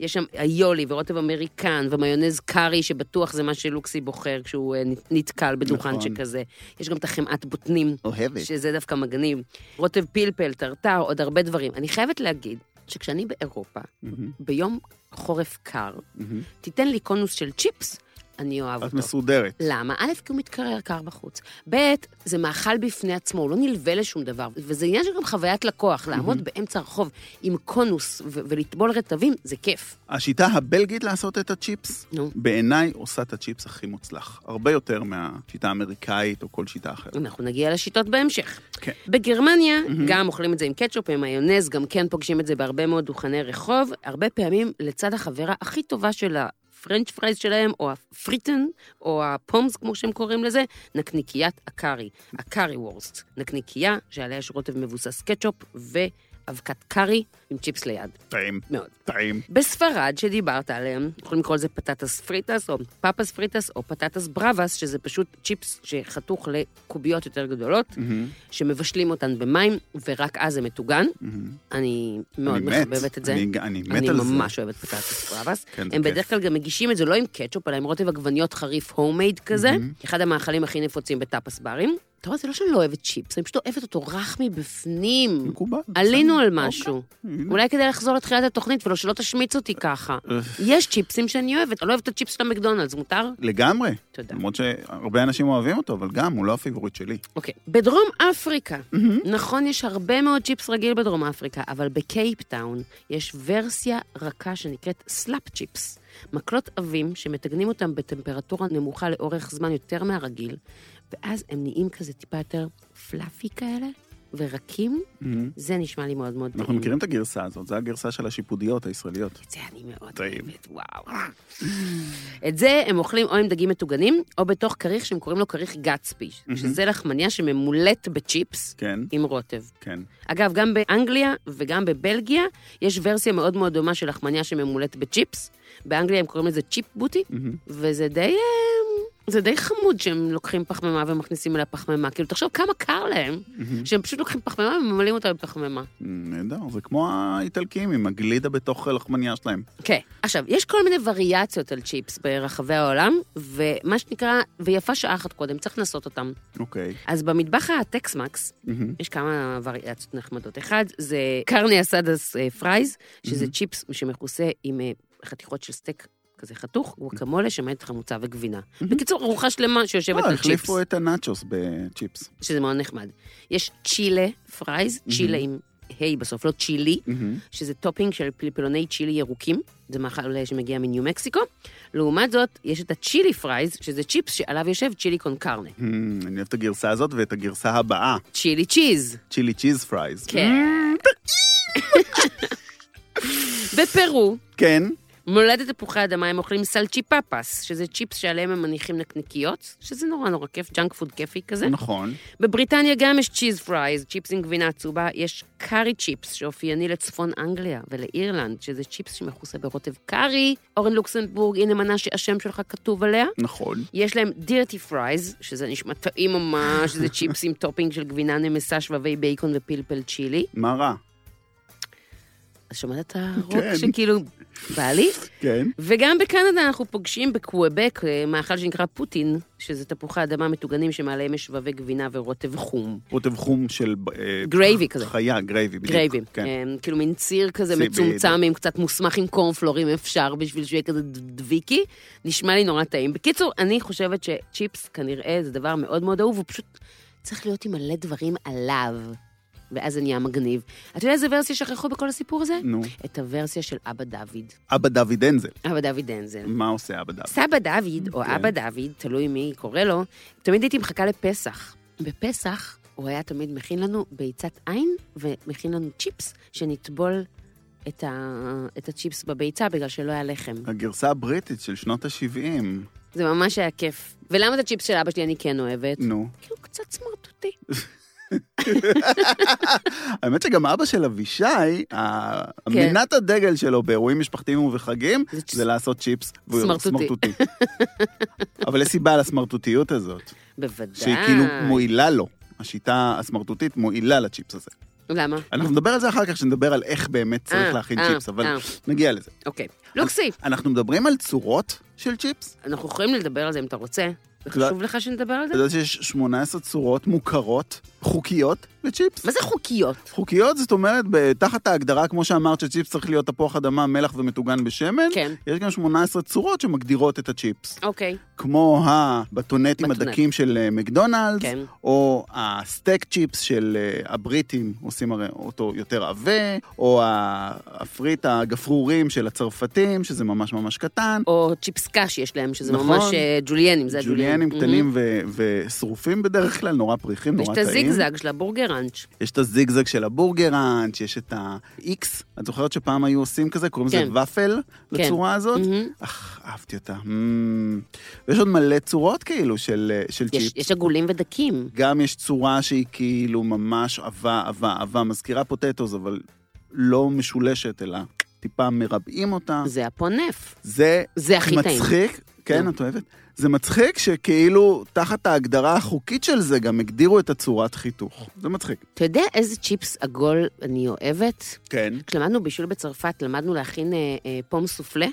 C: יש שם איולי ורוטב אמריקן ומיונז קארי, שבטוח זה מה שלוקסי בוחר כשהוא אה, נתקל בדוכן
B: נכון.
C: שכזה. יש גם את החמאת בוטנים.
B: אוהבת.
C: שזה דווקא מגניב. רוטב פלפל, טרטר, עוד הרבה דברים. אני חייבת להגיד שכשאני באירופה,
B: מהמם,
C: ביום חורף קר,
B: מהמם.
C: תיתן לי קונוס של צ'יפס, אני אוהב
B: את
C: אותו.
B: מסודרת.
C: למה? א', כי הוא מתקרר קר בחוץ. ב', זה מאכל בפני עצמו, הוא לא נלווה לשום דבר. וזה עניין של גם חוויית לקוח, לעמוד באמצע הרחוב עם קונוס ו- ולטבול רטבים, זה כיף.
B: השיטה הבלגית לעשות את הצ'יפס,
C: נו.
B: בעיניי עושה את הצ'יפס הכי מוצלח. הרבה יותר מהשיטה האמריקאית או כל שיטה אחרת.
C: אנחנו נגיע לשיטות בהמשך.
B: כן.
C: בגרמניה גם אוכלים את זה עם קטשופ, עם מיונז, גם כן פוגשים את זה בהרבה מאוד דוכני רחוב. הרבה פעמים לצד החברה הכי טובה של הפרנץ' פרייז שלהם, או הפריטן, או הפומס, כמו שהם קוראים לזה, נקניקיית הקארי, הקארי וורסט. נקניקייה שעליה יש רוטב מבוסס קטשופ ואבקת קארי עם צ'יפס ליד.
B: טעים,
C: מאוד.
B: טעים.
C: בספרד, שדיברת עליהם, יכולים לקרוא לזה פטטס פריטס, או פפס פריטס, או פטטס בראבס, שזה פשוט צ'יפס שחתוך לקוביות יותר גדולות,
B: מהמם,
C: שמבשלים אותן במים, ורק אז זה מטוגן.
B: מהמם.
C: אני מאוד
B: אני מת,
C: מחבבת את זה.
B: אני אני מת על
C: אני
B: זה.
C: ממש אוהבת פטטס בראבס.
B: כן, זה
C: הם
B: כיף.
C: בדרך כלל גם מגישים את זה לא עם קטשופ, אלא עם רוטב עגבניות חריף הומייד כזה.
B: מהמם.
C: אחד המאכלים הכי נפוצים בטאפס ברים. אתה רואה, זה לא שאני לא אוהבת צ'יפס, אני פשוט אוהבת אותו רך מבפנים.
B: מקובל.
C: עלינו על
B: בסדר.
C: משהו.
B: אוקיי, הנה.
C: אולי כדאי לחזור לתחילת התוכנית ולא שלא תשמיץ אותי ככה. יש צ'יפסים שאני אוהבת, אני לא אוהבת את הצ'יפס של המקדונלדס, מותר?
B: לגמרי.
C: תודה.
B: למרות שהרבה אנשים אוהבים אותו, אבל גם, הוא לא הפיבוריט שלי.
C: אוקיי. בדרום אפריקה, נכון, יש הרבה מאוד צ'יפס רגיל בדרום אפריקה, אבל בקייפטאון יש ורסיה רכה שנקראת סלאפ צ'יפס. מקלות עבים שמטגנים אותם בטמפרטורה נמוכה לאורך זמן יותר מהרגיל, ואז הם נהיים כזה טיפה יותר פלאפי כאלה, ורקים.
B: מהמם.
C: זה נשמע לי מאוד מאוד
B: אנחנו
C: טעים.
B: מכירים את הגרסה הזאת, זו הגרסה של השיפודיות הישראליות.
C: את זה אני מאוד
B: טעים.
C: אוהבת, וואו. את זה הם אוכלים או עם דגים מטוגנים, או בתוך כריך שהם קוראים לו כריך גצפי, שזה לחמניה שממולאת בצ'יפס
B: כן,
C: עם רוטב.
B: כן.
C: אגב, גם באנגליה וגם בבלגיה יש ורסיה מאוד מאוד דומה של לחמניה שממולאת בצ'יפס. באנגליה הם קוראים לזה צ'יפ בוטי,
B: מהמם.
C: וזה די... אה, זה די חמוד שהם לוקחים פחמימה ומכניסים אליה פחמימה. כאילו, תחשוב כמה קר להם, שהם פשוט לוקחים פחמימה וממלאים אותה בפחמימה.
B: Mm-hmm. נהדר, זה כמו האיטלקים עם הגלידה בתוך הלחמניה שלהם.
C: כן. עכשיו, יש כל מיני וריאציות על צ'יפס ברחבי העולם, ומה שנקרא, ויפה שעה אחת קודם, צריך לנסות אותם.
B: אוקיי.
C: אז במטבח הטקסמקס,
B: מהמם.
C: יש כמה וריאציות נחמדות. אחד, זה קרני אסדס אה, פרייז, שזה צ'יפס שמכוסה עם אה, חתיכות של סטייק כזה חתוך, גואקמולה שמעט חמוצה וגבינה. בקיצור, ארוחה שלמה שיושבת
B: אה,
C: על צ'יפס,
B: החליפו את הנאצ'וס בצ'יפס.
C: שזה מאוד נחמד. יש צ'ילה פרייז, צ'ילה עם היי בסוף, לא צ'ילי,
B: מהמם.
C: שזה טופינג של פלפלוני צ'ילי ירוקים, זה מאכל אה, שמגיע מניו מקסיקו. לעומת זאת, יש את הצ'ילי פרייז, שזה צ'יפס שעליו יושב צ'ילי קון קרנה.
B: מהמם, Mm-hmm. אני אוהב את הגרסה הזאת ואת הגרסה הבאה,
C: צ'ילי צ'יז.
B: צ'ילי צ'יז פרייז.
C: כן. בפרו,
B: כן.
C: מולדת תפוחי אדמה הם אוכלים סלצ'יפפס, שזה צ'יפס שעליהם הם מניחים נקניקיות, שזה נורא נורא כיף, ג'אנק פוד כיפי כזה.
B: נכון.
C: בבריטניה גם יש צ'יז פרייז, צ'יפס עם גבינה עצובה, יש קארי צ'יפס, שאופייני לצפון אנגליה ולאירלנד, שזה צ'יפס שמכוסה ברוטב קארי. אורן לוקסנבורג, הנה מנה שהשם שלך כתוב עליה.
B: נכון.
C: יש להם דירטי פרייז, שזה נשמע טעים ממש, שזה צ'יפס עם טופינג של גבינה נמסה, שבבי בייקון ופלפל צ'ילי.
B: מה רע?
C: אז שמעת את הרוק
B: כן.
C: שכאילו בא לי?
B: כן.
C: וגם בקנדה אנחנו פוגשים בקוואבק אה, מאכל שנקרא פוטין, שזה תפוחי אדמה מטוגנים שמעליהם יש שבבי גבינה ורוטב חום.
B: רוטב חום של... אה,
C: גרייבי כזה.
B: חיה, גרייבי. בדיוק.
C: גרייבים,
B: כן.
C: אה, כאילו מין ציר כזה
B: ציר,
C: מצומצם עם קצת מוסמך עם קורנפלור, אם אפשר, בשביל שהוא יהיה כזה דביקי, נשמע לי נורא טעים. בקיצור, אני חושבת שצ'יפס כנראה זה דבר מאוד מאוד אהוב, הוא פשוט צריך להיות עם מלא דברים עליו, ואז זה נהיה מגניב. אתה יודע איזה ורסיה שכחו בכל הסיפור הזה?
B: נו.
C: את הוורסיה של אבא דוד,
B: אבא דוד אנזל.
C: אבא דוד דנזל.
B: מה עושה אבא דוד?
C: סבא דוד, או
B: כן.
C: אבא דוד, תלוי מי קורא לו, תמיד הייתי מחכה לפסח. בפסח הוא היה תמיד מכין לנו ביצת עין, ומכין לנו צ'יפס, שנטבול את, ה... את הצ'יפס בביצה בגלל שלא היה לחם.
B: הגרסה הבריטית של שנות ה-70.
C: זה ממש היה כיף. ולמה את הצ'יפס של אבא שלי אני כן אוהבת?
B: נו.
C: כי הוא קצת סמרטוטי.
B: האמת שגם אבא של אבישי, ה-
C: כן.
B: מנת הדגל שלו באירועים משפחתיים ובחגים,
C: זה צ'-
B: זה לא- לעשות צ'יפס. והוא
C: סמרטוטי.
B: אבל יש סיבה לסמרטוטיות הזאת,
C: בוודאי.
B: שהיא כאילו מועילה לו. השיטה הסמרטוטית מועילה לצ'יפס הזה.
C: למה?
B: אנחנו נדבר על זה אחר כך, שנדבר על איך באמת
C: אה,
B: צריך להכין
C: אה,
B: צ'יפס, אבל
C: אה.
B: נגיע לזה.
C: אוקיי. לוקסי,
B: אנחנו מדברים על צורות של צ'יפס?
C: אנחנו יכולים לדבר על זה אם אתה רוצה.
B: לא.
C: וחשוב לך שנדבר על זה?
B: אתה יודע שיש 18 צורות מוכרות חוקיות לצ'יפס.
C: מה זה חוקיות?
B: חוקיות, זאת אומרת, ב- תחת ההגדרה, כמו שאמרת, שצ'יפס צריך להיות תפוח אדמה, מלח ומטוגן בשמן,
C: כן.
B: יש גם 18 צורות שמגדירות את הצ'יפס.
C: אוקיי.
B: כמו הבטונטים
C: בטונט.
B: הדקים של אה, מקדונלדס,
C: כן.
B: או הסטייק צ'יפס של אה, הבריטים, עושים הרי אותו יותר עבה, או הפריט הגפרורים של הצרפתים, שזה ממש ממש קטן.
C: או צ'יפס קש יש להם, שזה
B: נכון.
C: ממש אה, ג'וליינים, זה הג'וליינים.
B: ג'וליאנים קטנים ו- ושרופים בדרך כלל, נורא פריחים,
C: יש
B: נורא
C: את
B: טעים.
C: הזיגזג של הבורגראנץ'.
B: יש את הזיגזג של הבורגראנץ', יש את ה-X, את זוכרת שפעם היו עושים כזה, קוראים לזה
C: כן.
B: ופל,
C: כן.
B: לצורה הזאת?
C: מהמם.
B: אך, אהבתי אותה. מ. ויש עוד מלא צורות כאילו של של
C: יש-
B: צ'יפ.
C: יש עגולים ודקים.
B: גם יש צורה שהיא כאילו ממש עבה, עבה, עבה, מזכירה פוטטוס, אבל לא משולשת, אלא טיפה מרבעים אותה.
C: זה הפונף.
B: זה
C: זה הכי טעים.
B: מצחיק, כן,
C: נו.
B: את אוהבת? זה מצחיק שכאילו תחת ההגדרה החוקית של זה גם הגדירו את הצורת חיתוך. זה מצחיק.
C: אתה יודע איזה צ'יפס עגול אני אוהבת?
B: כן.
C: כשלמדנו בישול בצרפת, למדנו להכין אה, אה, פום סופלה,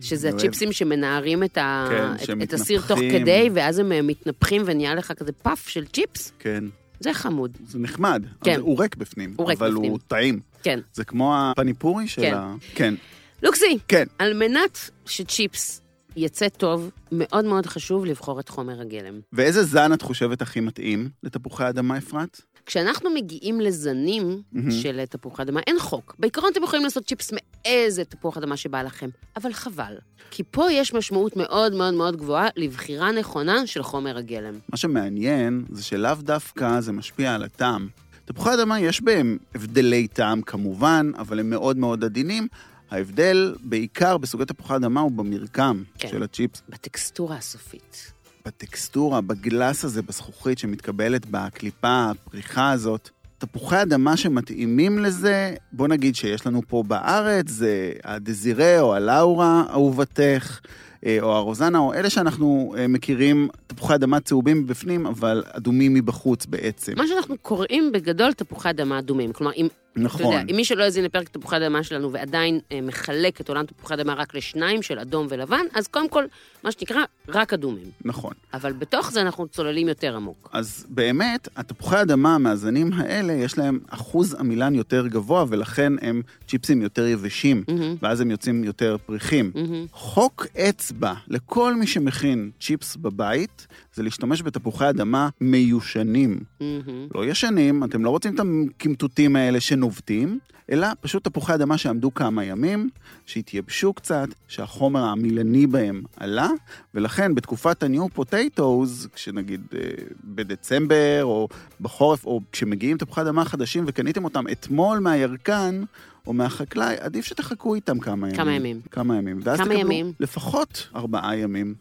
C: שזה
B: Mm, אוהב.
C: הצ'יפסים שמנערים את, ה...
B: כן,
C: את,
B: שהם
C: את הסיר תוך
B: מתנפחים.
C: כדי, ואז הם אה, מתנפחים ונהיה לך כזה פאף של צ'יפס.
B: כן.
C: זה חמוד.
B: זה נחמד.
C: כן.
B: אבל הוא ריק בפנים.
C: הוא ריק
B: אבל
C: בפנים.
B: הוא טעים.
C: כן.
B: זה כמו הפניפורי של
C: כן.
B: ה... כן.
C: לוקסי,
B: כן.
C: על מנת שצ'יפס יצא טוב, מאוד מאוד חשוב לבחור את חומר הגלם.
B: ואיזה זן את חושבת הכי מתאים לתפוחי אדמה, אפרת?
C: כשאנחנו מגיעים לזנים
B: מהמם.
C: של תפוח אדמה, אין חוק. בעיקרון אתם יכולים לעשות צ'יפס מאיזה תפוח אדמה שבא לכם, אבל חבל. כי פה יש משמעות מאוד מאוד מאוד גבוהה לבחירה נכונה של חומר הגלם.
B: מה שמעניין זה שלאו דווקא זה משפיע על הטעם. תפוחי אדמה יש בהם הבדלי טעם כמובן, אבל הם מאוד מאוד עדינים. ההבדל בעיקר בסוגי תפוחי אדמה הוא במרקם
C: כן.
B: של הצ'יפס,
C: בטקסטורה הסופית.
B: בטקסטורה, בגלס הזה, בזכוכית שמתקבלת בקליפה, הפריחה הזאת. תפוחי אדמה שמתאימים לזה, בוא נגיד שיש לנו פה בארץ, זה הדזירה או הלאורה, אהובתך, אה, או הרוזנה, או אלה שאנחנו אה, מכירים, תפוחי אדמה צהובים מבפנים, אבל אדומים מבחוץ בעצם.
C: מה שאנחנו קוראים בגדול תפוחי אדמה אדומים. כלומר, אם, לא, אתה
B: נכון.
C: יודע, אם מי שלא האזין לפרק תפוחי אדמה שלנו ועדיין אה, מחלק את עולם תפוחי אדמה רק לשניים, של אדום ולבן, אז קודם כל, מה שנקרא, רק אדומים.
B: נכון.
C: אבל בתוך זה אנחנו צוללים יותר עמוק.
B: אז באמת, התפוחי אדמה מהזנים האלה, יש להם אחוז עמילן יותר גבוה, ולכן הם צ'יפסים יותר יבשים,
C: מהמם,
B: ואז הם יוצאים יותר פריחים.
C: מהמם.
B: חוק אצבע לכל מי שמכין צ'יפס בבית, זה להשתמש בתפוחי אדמה מיושנים.
C: מהמם.
B: לא ישנים, אתם לא רוצים את הקמטוטים האלה שנובטים, אלא פשוט תפוחי אדמה שעמדו כמה ימים, שהתייבשו קצת, שהחומר העמילני בהם עלה, ולכן בתקופת ה-new potatoes, כשנגיד אה, בדצמבר או בחורף, או כשמגיעים תפוחי אדמה חדשים וקניתם אותם אתמול מהירקן, או מהחקלאי, עדיף שתחכו איתם כמה ימים.
C: כמה ימים.
B: כמה ימים. ואז
C: כמה
B: תקבלו
C: ימים?
B: לפחות ארבעה ימים.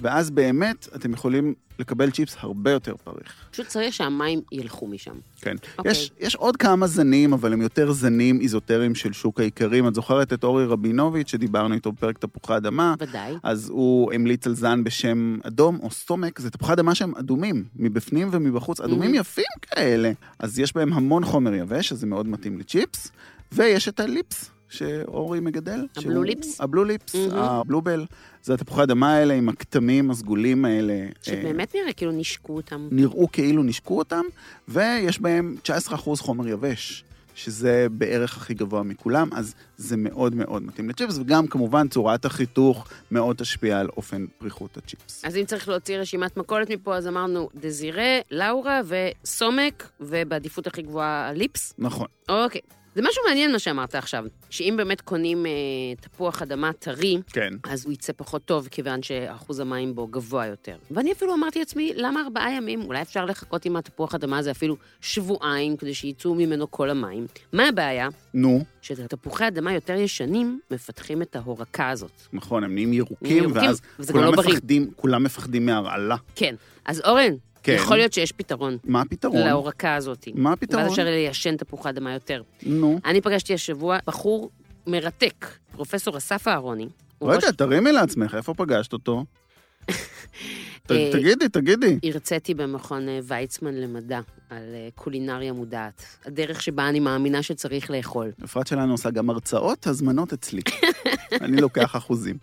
B: ואז באמת אתם יכולים לקבל צ'יפס הרבה יותר פריך.
C: פשוט צריך שהמים ילכו משם.
B: כן. Okay.
C: אוקיי.
B: יש, יש עוד כמה זנים, אבל הם יותר זנים איזוטריים של שוק האיכרים. את זוכרת את אורי רבינוביץ', שדיברנו איתו בפרק תפוחי אדמה?
C: ודאי.
B: אז הוא המליץ על זן בשם אדום או סומק, זה תפוחי אדמה שהם אדומים, מבפנים ומבחוץ, אדומים
C: Mhm.
B: יפים כאלה. אז יש בהם המון חומר יבש, אז זה מאוד מתאים לצ'יפס. ויש את הליפס. שאורי מגדל.
C: הבלו
B: שהוא-
C: ליפס?
B: הבלו ליפס,
C: Mhm.
B: הבלובל. זה התפוחי אדמה האלה עם הכתמים הסגולים האלה. אה,
C: שבאמת נראה כאילו נשקו אותם.
B: נראו כאילו נשקו אותם, ויש בהם 19% חומר יבש, שזה בערך הכי גבוה מכולם, אז זה מאוד מאוד מתאים לצ'יפס, וגם כמובן צורת החיתוך מאוד תשפיע על אופן פריחות הצ'יפס.
C: אז אם צריך להוציא רשימת מכולת מפה, אז אמרנו דזירה, לאורה וסומק, ובעדיפות הכי גבוהה ליפס.
B: נכון.
C: אוקיי. זה משהו מעניין מה שאמרת עכשיו, שאם באמת קונים אה, תפוח אדמה טרי,
B: כן.
C: אז הוא יצא פחות טוב, כיוון שאחוז המים בו גבוה יותר. ואני אפילו אמרתי לעצמי, למה ארבעה ימים? אולי אפשר לחכות עם התפוח אדמה הזה אפילו שבועיים, כדי שיצאו ממנו כל המים. מה הבעיה?
B: נו,
C: שתפוחי אדמה יותר ישנים מפתחים את ההורקה הזאת.
B: נכון, הם נהיים
C: נהיים
B: ירוקים,
C: ירוקים,
B: ואז
C: וזה כבר
B: כולם
C: לא בריא.
B: מפחדים, כולם מפחדים מהרעלה.
C: כן. אז אורן,
B: כן.
C: יכול להיות שיש פתרון
B: מה הפתרון?
C: להורקה הזאת.
B: מה
C: ואז
B: הפתרון?
C: אפשר ליישן תפוחי אדמה יותר.
B: נו.
C: אני פגשתי השבוע בחור מרתק, פרופסור אסף אהרוני. הוא
B: לא
C: ראש-
B: יודע, תרימי לעצמך, איפה פגשת אותו? ת-
C: אה,
B: תגידי, תגידי.
C: הרציתי במכון אה, ויצמן למדע על אה, קולינריה מודעת, הדרך שבה אני מאמינה שצריך לאכול.
B: אפרת שלנו עושה גם הרצאות, הזמנות אצלי. אני לוקח אחוזים.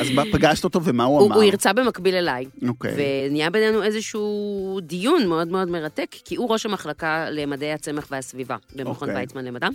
B: אז מה- פגשת אותו ומה הוא
C: הוא
B: אמר?
C: הוא הרצה במקביל אליי.
B: אוקיי.
C: ונהיה בינינו איזשהו דיון מאוד מאוד מרתק, כי הוא ראש המחלקה למדעי הצמח והסביבה במכון okay.
B: אוקיי.
C: ויצמן למדע.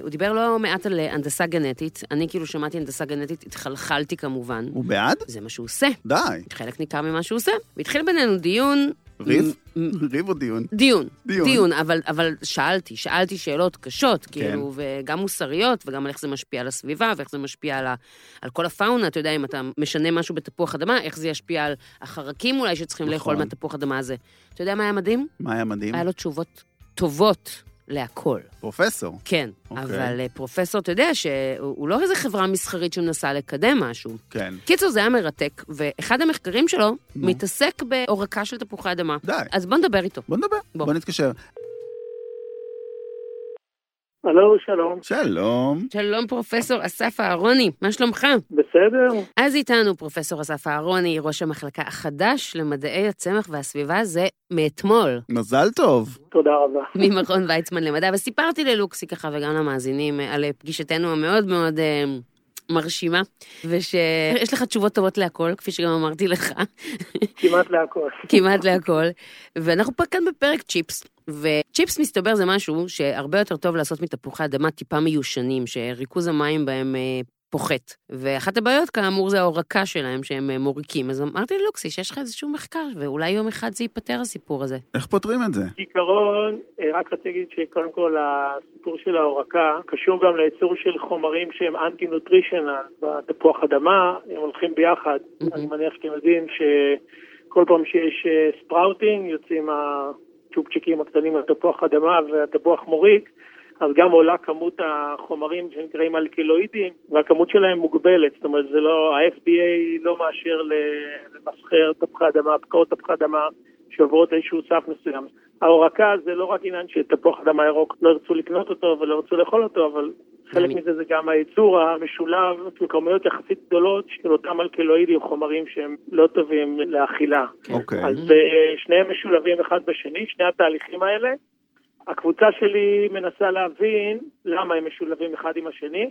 C: הוא דיבר לא מעט על אה, הנדסה גנטית, אני כאילו שמעתי הנדסה גנטית, התחלחלתי כמובן,
B: הוא בעד?
C: זה מה שהוא עושה,
B: די.
C: חלק ניכר ממה שהוא עושה. והתחיל בינינו דיון...
B: ריב?
C: מ- מ-
B: ריב או דיון?
C: דיון,
B: דיון.
C: דיון, דיון אבל, אבל שאלתי, שאלתי שאלות קשות, כן. כאילו, וגם מוסריות, וגם על איך זה משפיע על הסביבה, ואיך זה משפיע על, ה, על כל הפאונה, אתה יודע, אם אתה משנה משהו בתפוח אדמה, איך זה ישפיע על החרקים אולי שצריכים
B: נכון.
C: נכון. לאכול מהתפוח אדמה הזה. אתה יודע מה היה מדהים?
B: מה היה מדהים?
C: היה לו תשובות טובות להכל.
B: פרופסור.
C: כן,
B: אוקיי.
C: אוקיי. אבל אה, פרופסור, אתה יודע שהוא הוא לא איזה חברה מסחרית שמנסה לקדם משהו.
B: כן.
C: קיצור, זה היה מרתק, ואחד המחקרים שלו
B: נו.
C: מתעסק בעורקה של תפוחי אדמה.
B: די.
C: אז בוא נדבר איתו.
B: בוא נדבר,
C: בוא.
B: בוא נתקשר.
D: הלו, שלום.
B: שלום.
C: שלום, פרופסור אסף אהרוני, מה שלומך?
D: בסדר?
C: אז איתנו פרופסור אסף אהרוני, ראש המחלקה החדש למדעי הצמח והסביבה, זה מאתמול,
B: מזל טוב.
D: תודה רבה.
C: ממכון ויצמן למדע, וסיפרתי ללוקסי ככה וגם למאזינים אה, על אה, פגישתנו המאוד מאוד אה, מרשימה, ושיש לך תשובות טובות להכל, כפי שגם אמרתי לך,
D: כמעט להכל.
C: כמעט להכל, ואנחנו פה כאן בפרק צ'יפס. וצ'יפס מסתבר זה משהו שהרבה יותר טוב לעשות מתפוחי אדמה טיפה מיושנים, שריכוז המים בהם אה, פוחת. ואחת הבעיות, כאמור, זה ההורקה שלהם שהם אה, מוריקים. אז אמרתי ללוקסי שיש לך איזשהו מחקר, ואולי יום אחד זה ייפתר הסיפור הזה.
B: איך פותרים את זה?
D: בעיקרון, אה, רק רציתי להגיד שקודם כל הסיפור של ההורקה קשור גם לייצור של חומרים שהם אנטי-נוטרישנל בתפוח אדמה, הם הולכים ביחד.
C: Mhm.
D: אני מניח שאתם יודעים שכל פעם שיש אה, ספראוטינג יוצאים הצ'ופצ'יקים הקטנים על תפוח אדמה והתפוח מוריק. אז גם עולה כמות החומרים שנקראים אלקילואידים, והכמות שלהם מוגבלת. זאת אומרת, זה לא, ה-FDA לא מאשר ל- למסחר תפוחי אדמה, הפקעות תפוחי אדמה שעוברות איזשהו סף מסוים. ההורקה זה לא רק עניין שתפוח אדמה ירוק, לא ירצו לקנות אותו ולא ירצו לאכול אותו, אבל חלק
C: אני-
D: מזה זה גם הייצור המשולב של כמויות יחסית גדולות של אותם אלקילואידים, חומרים שהם לא טובים לאכילה.
C: כן.
B: אוקיי.
D: אז אה, שניהם משולבים אחד בשני, שני התהליכים האלה. הקבוצה שלי מנסה להבין למה הם משולבים אחד עם השני.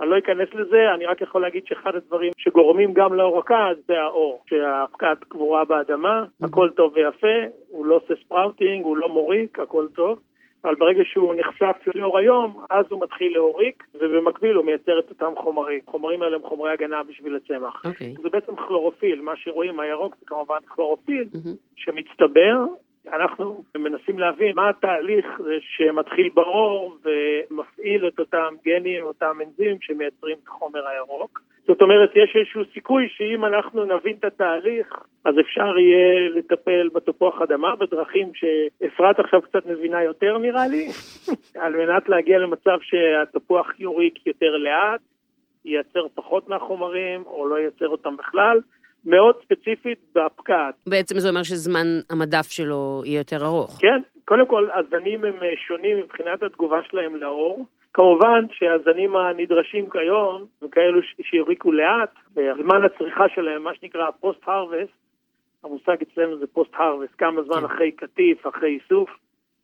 D: אני לא אכנס לזה, אני רק יכול להגיד שאחד הדברים שגורמים גם להורקה זה האור, שהפקעת קבורה באדמה, הכל טוב ויפה, הוא לא עושה ספראוטינג, הוא לא מוריק, הכל טוב, אבל ברגע שהוא נחשף לאור היום, אז הוא מתחיל להוריק, ובמקביל הוא מייצר את אותם חומרים. החומרים האלה הם חומרי הגנה בשביל הצמח.
C: אוקיי.
D: זה בעצם כלורופיל, מה שרואים הירוק זה כמובן כלורופיל
C: מהמם.
D: שמצטבר. אנחנו מנסים להבין מה התהליך שמתחיל באור ומפעיל את אותם גנים, אותם אנזים שמייצרים את החומר הירוק. זאת אומרת, יש איזשהו סיכוי שאם אנחנו נבין את התהליך, אז אפשר יהיה לטפל בתפוח אדמה בדרכים שאפרת עכשיו קצת מבינה יותר נראה לי, על מנת להגיע למצב שהתפוח יוריק יותר לאט, ייצר פחות מהחומרים או לא ייצר אותם בכלל, מאוד ספציפית בהפקעת.
C: בעצם זה אומר שזמן המדף שלו יהיה יותר ארוך.
D: כן, קודם כל, הזנים הם אה, שונים מבחינת התגובה שלהם לאור. כמובן שהזנים הנדרשים כיום הם כאלו ש- שיוריקו לאט, והזמן הצריכה שלהם, מה שנקרא פוסט-הרווסט, המושג אצלנו זה פוסט-הרווסט, כמה זמן אחרי קטיף, אחרי איסוף,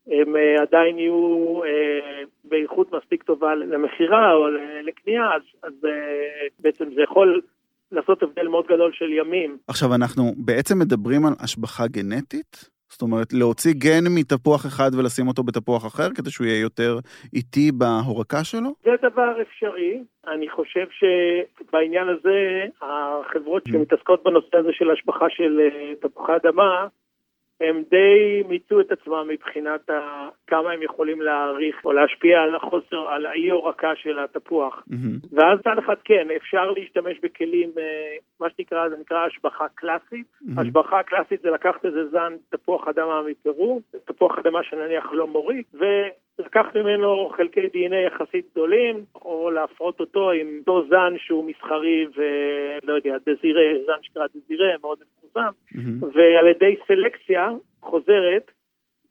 D: הם אה, עדיין יהיו אה, באיכות מספיק טובה למכירה או ל- לקנייה, אז, אז אה, בעצם זה יכול לעשות הבדל מאוד גדול של ימים.
B: עכשיו, אנחנו בעצם מדברים על השבחה גנטית? זאת אומרת, להוציא גן מתפוח אחד ולשים אותו בתפוח אחר, כדי שהוא יהיה יותר איטי בהורקה שלו?
D: זה דבר אפשרי. אני חושב שבעניין הזה, החברות שמתעסקות בנושא הזה של השבחה של אה, תפוחי אדמה, הם די מיצו את עצמם מבחינת ה... כמה הם יכולים להעריך או להשפיע על החוסר, על האי הורקה של התפוח.
B: מהמם.
D: ואז מצד אחד כן, אפשר להשתמש בכלים, אה, מה שנקרא, זה נקרא השבחה קלאסית.
B: מהמם.
D: השבחה הקלאסית זה לקחת איזה זן תפוח אדמה מפרו, תפוח אדמה שנניח לא מוריק, ולקח ממנו חלקי דנ"א יחסית גדולים, או להפרות אותו עם אותו זן שהוא מסחרי ולא יודע, דזירה, זן שנקרא דזירה, מאוד מפורסם,
B: מהמם.
D: ועל ידי סלקציה חוזרת,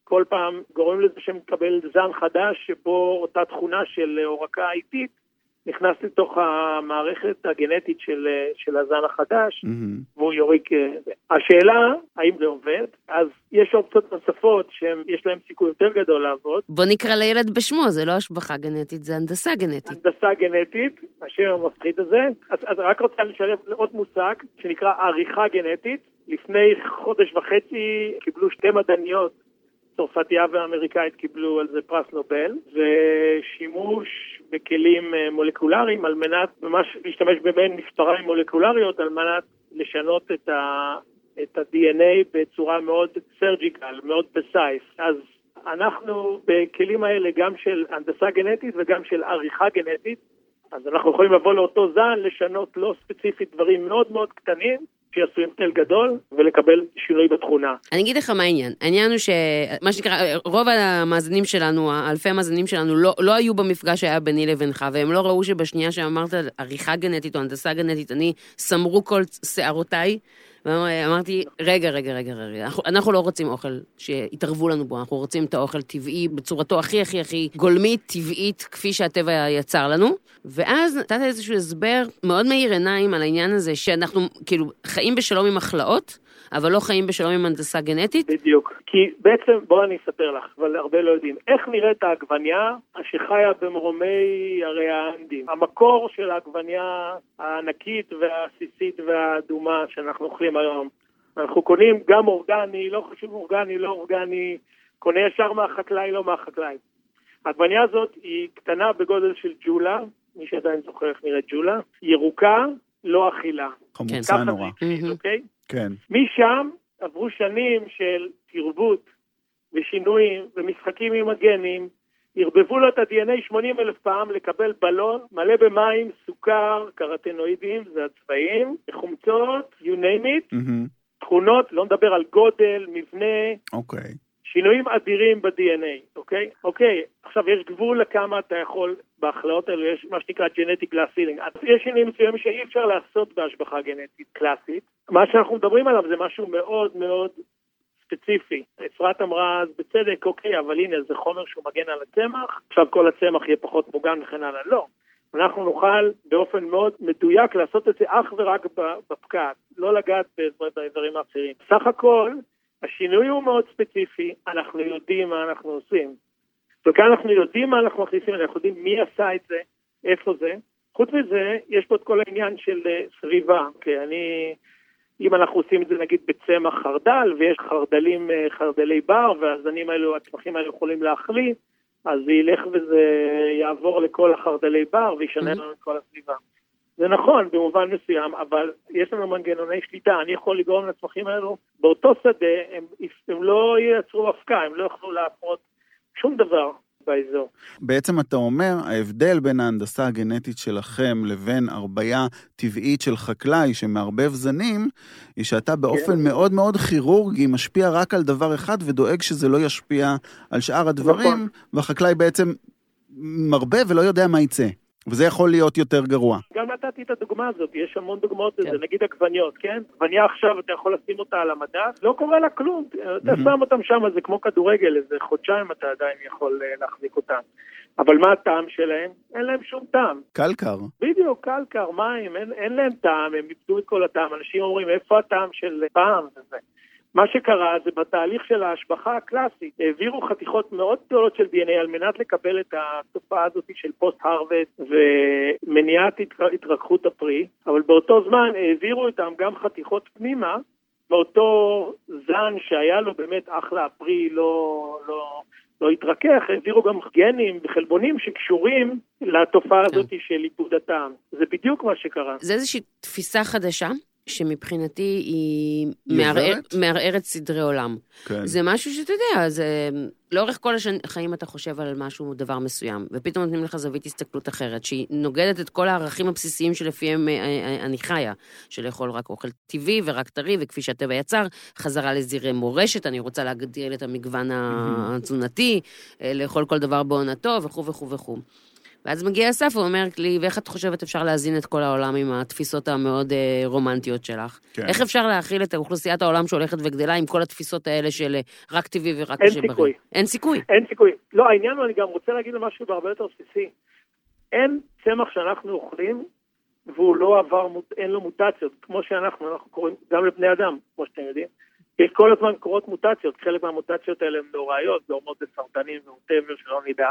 D: כל פעם גורם לזה שמקבל זן חדש שבו אותה תכונה של הורקה איטית נכנס לתוך המערכת הגנטית של, של הזן החדש,
B: מהמם.
D: והוא יוריק... אה, השאלה, האם זה עובד? אז יש אופציות נוספות שיש להן סיכוי יותר גדול לעבוד.
C: בוא נקרא לילד בשמו, זה לא השבחה גנטית, זה הנדסה גנטית.
D: הנדסה גנטית, השם המפחיד הזה. אז, אז רק רוצה לשלב עוד מושג שנקרא עריכה גנטית. לפני חודש וחצי קיבלו שתי מדעניות, צרפתייה ואמריקאית קיבלו על זה פרס נובל, ושימוש בכלים אה, מולקולריים על מנת, ממש להשתמש במעין נפטריים מולקולריות על מנת לשנות את ה... את ה-DNA בצורה מאוד סרג'יקל, מאוד פסייס. אז אנחנו בכלים האלה, גם של הנדסה גנטית וגם של עריכה גנטית, אז אנחנו יכולים לבוא לאותו זן, לשנות לא ספציפית דברים מאוד מאוד קטנים, שיעשו הבדל גדול, ולקבל שינוי בתכונה.
C: אני אגיד לך מה העניין. העניין הוא שמה שנקרא, רוב המאזינים שלנו, אלפי המאזינים שלנו, לא, לא היו במפגש שהיה ביני לבינך, והם לא ראו שבשנייה שאמרת על עריכה גנטית או הנדסה גנטית, אני סמרו כל שערותיי, ואמרתי, רגע, רגע, רגע, רגע, אנחנו, אנחנו לא רוצים אוכל שיתערבו לנו בו, אנחנו רוצים את האוכל טבעי בצורתו הכי הכי הכי גולמית, טבעית, כפי שהטבע יצר לנו. ואז נתת איזשהו הסבר מאוד מאיר עיניים על העניין הזה, שאנחנו כאילו חיים בשלום עם החלאות, אבל לא חיים בשלום עם הנדסה גנטית.
D: בדיוק. כי בעצם, בואו אני אספר לך, אבל הרבה לא יודעים. איך נראית העגבניה שחיה במרומי הרי האנדים? המקור של העגבניה הענקית והעסיסית והאדומה שאנחנו אוכלים היום. אנחנו קונים גם אורגני, לא חשוב אורגני, לא אורגני, קונה ישר מהחקלאי, לא מהחקלאי. העגבניה הזאת היא קטנה בגודל של ג'ולה, מי שעדיין זוכר איך נראית ג'ולה, ירוקה, לא אכילה.
B: חמוצה
D: ככה זה
B: נורא.
C: Mm.
D: התחיל, אוקיי?
B: כן.
D: משם עברו שנים של תרבות ושינויים ומשחקים עם הגנים, ערבבו לו את ה-DNA 80 אלף פעם לקבל בלון מלא במים, סוכר, קרטנואידים, זה הצבעים, חומצות, you name it,
B: מהמם.
D: תכונות, לא נדבר על גודל, מבנה,
B: אוקיי.
D: שינויים אדירים ב-DNA, אוקיי? אוקיי, עכשיו יש גבול לכמה אתה יכול, בהכלאות האלו יש מה שנקרא genetic glass ceiling. אז יש שינויים מסוימים שאי אפשר לעשות בהשבחה גנטית קלאסית. מה שאנחנו מדברים עליו זה משהו מאוד מאוד ספציפי. אפרת אמרה אז בצדק, אוקיי, אבל הנה זה חומר שהוא מגן על הצמח, עכשיו כל הצמח יהיה פחות מוגן וכן הלאה. לא. אנחנו נוכל באופן מאוד מדויק לעשות את זה אך ורק ב- בפקעת, לא לגעת באזור- באזורים האחרים. סך הכל, השינוי הוא מאוד ספציפי, אנחנו יודעים מה אנחנו עושים. וכאן אנחנו יודעים מה אנחנו מכניסים, אנחנו יודעים מי עשה את זה, איפה זה. חוץ מזה, יש פה את כל העניין של אה, סביבה. כי אני, אם אנחנו עושים את זה נגיד בצמח חרדל, ויש חרדלים, אה, חרדלי בר, והזנים האלו, הצמחים האלו יכולים להחליט, אז זה ילך וזה יעבור לכל החרדלי בר וישנה
C: Mhm.
D: לנו את כל הסביבה. זה נכון במובן מסוים, אבל יש לנו מנגנוני שליטה. אני יכול לגרום לצמחים האלו, באותו שדה הם, הם לא ייצרו אבקה, הם לא יוכלו להפרות שום דבר באזור.
B: בעצם אתה אומר, ההבדל בין ההנדסה הגנטית שלכם לבין הרבייה טבעית של חקלאי שמערבב זנים, היא שאתה באופן מאוד מאוד כירורגי משפיע רק על דבר אחד ודואג שזה לא ישפיע על שאר הדברים,
D: נכון.
B: והחקלאי בעצם מרבה ולא יודע מה יצא. וזה יכול להיות יותר גרוע.
D: גם נתתי את הדוגמה הזאת, יש המון דוגמאות
C: כן.
D: לזה, נגיד עגבניות, כן? עגבניה עכשיו, אתה יכול לשים אותה על המדף, לא קורה לה כלום, אתה
B: Mhm.
D: שם אותם שם, זה כמו כדורגל, איזה חודשיים אתה עדיין יכול אה, להחזיק אותם. אבל מה הטעם שלהם? אין להם שום טעם.
B: קלקר.
D: בדיוק, קלקר, מים, אין, אין להם טעם, הם איבדו את כל הטעם. אנשים אומרים, איפה הטעם של פעם וזה. מה שקרה זה בתהליך של ההשבחה הקלאסית, העבירו חתיכות מאוד גדולות של DNA על מנת לקבל את התופעה הזאת של פוסט הרווסט ומניעת התר- התרככות הפרי, אבל באותו זמן העבירו איתם גם חתיכות פנימה מאותו זן שהיה לו באמת אחלה הפרי, לא, לא, לא התרכך, העבירו גם גנים וחלבונים שקשורים לתופעה
C: כן.
D: הזאת של איבוד הטעם. זה בדיוק מה שקרה.
C: זה איזושהי תפיסה חדשה, שמבחינתי היא
B: היא
C: מערער-
B: עוברת?
C: מערערת סדרי עולם.
B: כן.
C: זה משהו שאתה יודע, זה... לאורך כל השנ- החיים אתה חושב על משהו, דבר מסוים, ופתאום נותנים לך זווית הסתכלות אחרת, שהיא נוגדת את כל הערכים הבסיסיים שלפיהם אה, אה, אה, אני חיה, של לאכול רק אוכל טבעי ורק טרי, וכפי שהטבע יצר, חזרה לזירי מורשת, אני רוצה להגדיל את המגוון
B: מהמם.
C: התזונתי, אה, לאכול כל דבר בעונתו, וכו' וכו' וכו'. ואז מגיע אסף ואומר לי, ואיך את חושבת אפשר להזין את כל העולם עם התפיסות המאוד אה, רומנטיות שלך?
B: כן.
C: איך אפשר להכיל את אוכלוסיית העולם שהולכת וגדלה עם כל התפיסות האלה של אה, רק טבעי ורק
D: אין
C: מה שבריא?
D: סיכוי.
C: אין סיכוי.
D: אין סיכוי. לא, העניין הוא, אני גם רוצה להגיד לו משהו הרבה יותר בסיסי. אין צמח שאנחנו אוכלים, והוא לא עבר, אין לו מוטציות, כמו שאנחנו, אנחנו קוראים, גם לבני אדם, כמו שאתם יודעים, יש כל הזמן קורות מוטציות, חלק מהמוטציות האלה הן לא נוראיות, גורמות לסרטנים וטבע שלא נדע,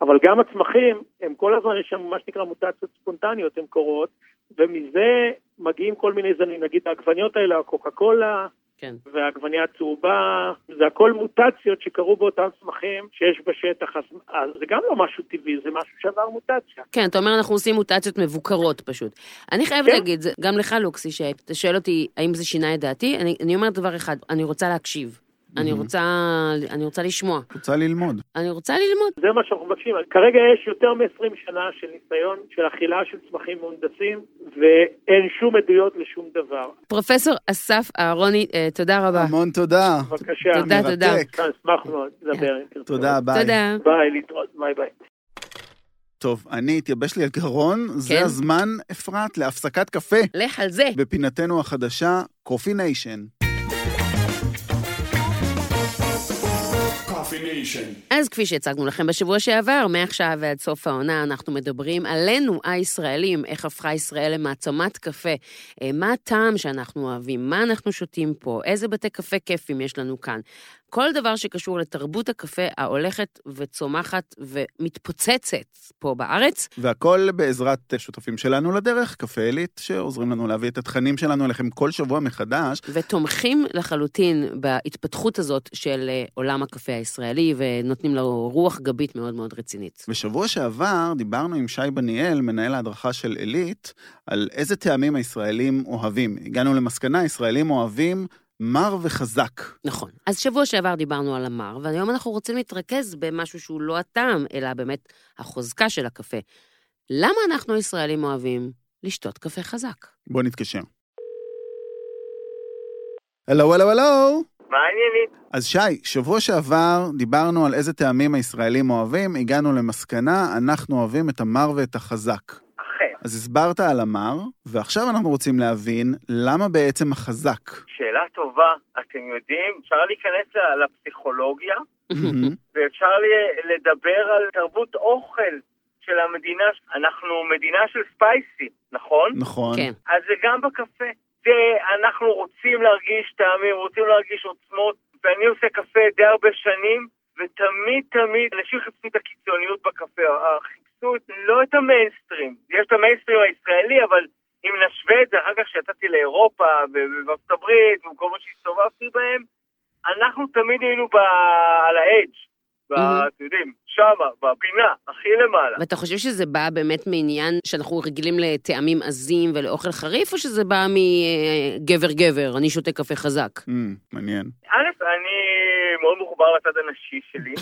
D: אבל גם הצמחים, הם כל הזמן, יש שם מה שנקרא מוטציות ספונטניות, הן קורות, ומזה מגיעים כל מיני זנים, נגיד העגבניות האלה, הקוקה קולה,
C: כן.
D: והעגבנייה הצהובה, זה הכל מוטציות שקרו באותם צמחים שיש בשטח, אז, אז זה גם לא משהו טבעי, זה משהו שעבר מוטציה.
C: כן, אתה אומר, אנחנו עושים מוטציות מבוקרות פשוט. אני חייבת
D: כן.
C: להגיד, זה- גם לך, לוקסי, שאתה שואל אותי האם זה שינה את דעתי, אני, אני אומרת דבר אחד, אני רוצה להקשיב. אני רוצה, אני רוצה לשמוע,
B: רוצה ללמוד.
C: אני רוצה ללמוד.
D: זה מה שאנחנו מבקשים. כרגע יש יותר מ-20 שנה של ניסיון של אכילה של צמחים מהונדסים, ואין שום עדויות לשום דבר.
C: פרופסור אסף אהרוני, אה, תודה רבה.
B: המון תודה.
D: בבקשה.
C: תודה, תודה.
B: מרתק.
D: אני אשמח מאוד לדבר אם תרצו.
B: תודה, ביי.
C: תודה.
D: ביי, להתראות, ביי ביי.
B: טוב, אני, התייבש לי הגרון,
C: כן.
B: זה הזמן, אפרת, להפסקת קפה.
C: לך על זה.
B: בפינתנו החדשה, קופי ניישן.
E: Coffee Nation.
C: אז כפי שהצגנו לכם בשבוע שעבר, מעכשיו ועד סוף העונה אנחנו מדברים עלינו, הישראלים, איך הפכה ישראל למעצמת קפה, אה, מה הטעם שאנחנו אוהבים, מה אנחנו שותים פה, איזה בתי קפה כיפים יש לנו כאן. כל דבר שקשור לתרבות הקפה ההולכת וצומחת ומתפוצצת פה בארץ,
B: והכל בעזרת שותפים שלנו לדרך, קפה עילית, שעוזרים לנו להביא את התכנים שלנו אליכם כל שבוע מחדש.
C: ותומכים לחלוטין בהתפתחות הזאת של אה, עולם הקפה הישראלי, ונותנים לו רוח גבית מאוד מאוד רצינית.
B: בשבוע שעבר דיברנו עם שי בניאל, מנהל ההדרכה של עילית, על איזה טעמים הישראלים אוהבים. הגענו למסקנה, ישראלים אוהבים מר וחזק.
C: נכון. אז שבוע שעבר דיברנו על המר, והיום אנחנו רוצים להתרכז במשהו שהוא לא הטעם, אלא באמת החוזקה של הקפה. למה אנחנו הישראלים אוהבים לשתות קפה חזק?
B: בואו נתקשר. הלו, הלו, הלו.
D: מה העניינים?
B: אז שי, שבוע שעבר דיברנו על איזה טעמים הישראלים אוהבים, הגענו למסקנה, אנחנו אוהבים את המר ואת החזק.
D: אכן,
B: אז הסברת על המר, ועכשיו אנחנו רוצים להבין למה בעצם החזק.
D: שאלה טובה. אתם יודעים, אפשר להיכנס לפסיכולוגיה,
B: מהמם.
D: ואפשר לדבר על תרבות אוכל של המדינה. אנחנו מדינה של ספייסי, נכון?
B: נכון.
C: כן.
D: אז זה גם בקפה. זה, אנחנו רוצים להרגיש טעמים, רוצים להרגיש עוצמות, ואני עושה קפה די הרבה שנים, ותמיד תמיד אנשים חיפשו את הקיצוניות בקפה, חיפשו את- לא את המיינסטרים, יש את המיינסטרים הישראלי, אבל אם נשווה את זה אחר כך כשיצאתי לאירופה ו- ובארצות הברית, ובמקומות שהסתובבתי בהם, אנחנו תמיד היינו ב... על האדג', ב-
C: Mhm.
D: אתם יודעים, שמה, בפינה, הכי למעלה.
C: ואתה חושב שזה בא באמת מעניין שאנחנו רגילים לטעמים עזים ולאוכל חריף, או שזה בא מגבר-גבר, אני שותה קפה חזק?
B: אמ, מעניין.
D: א', אני מאוד מחובר לצד הנשי שלי.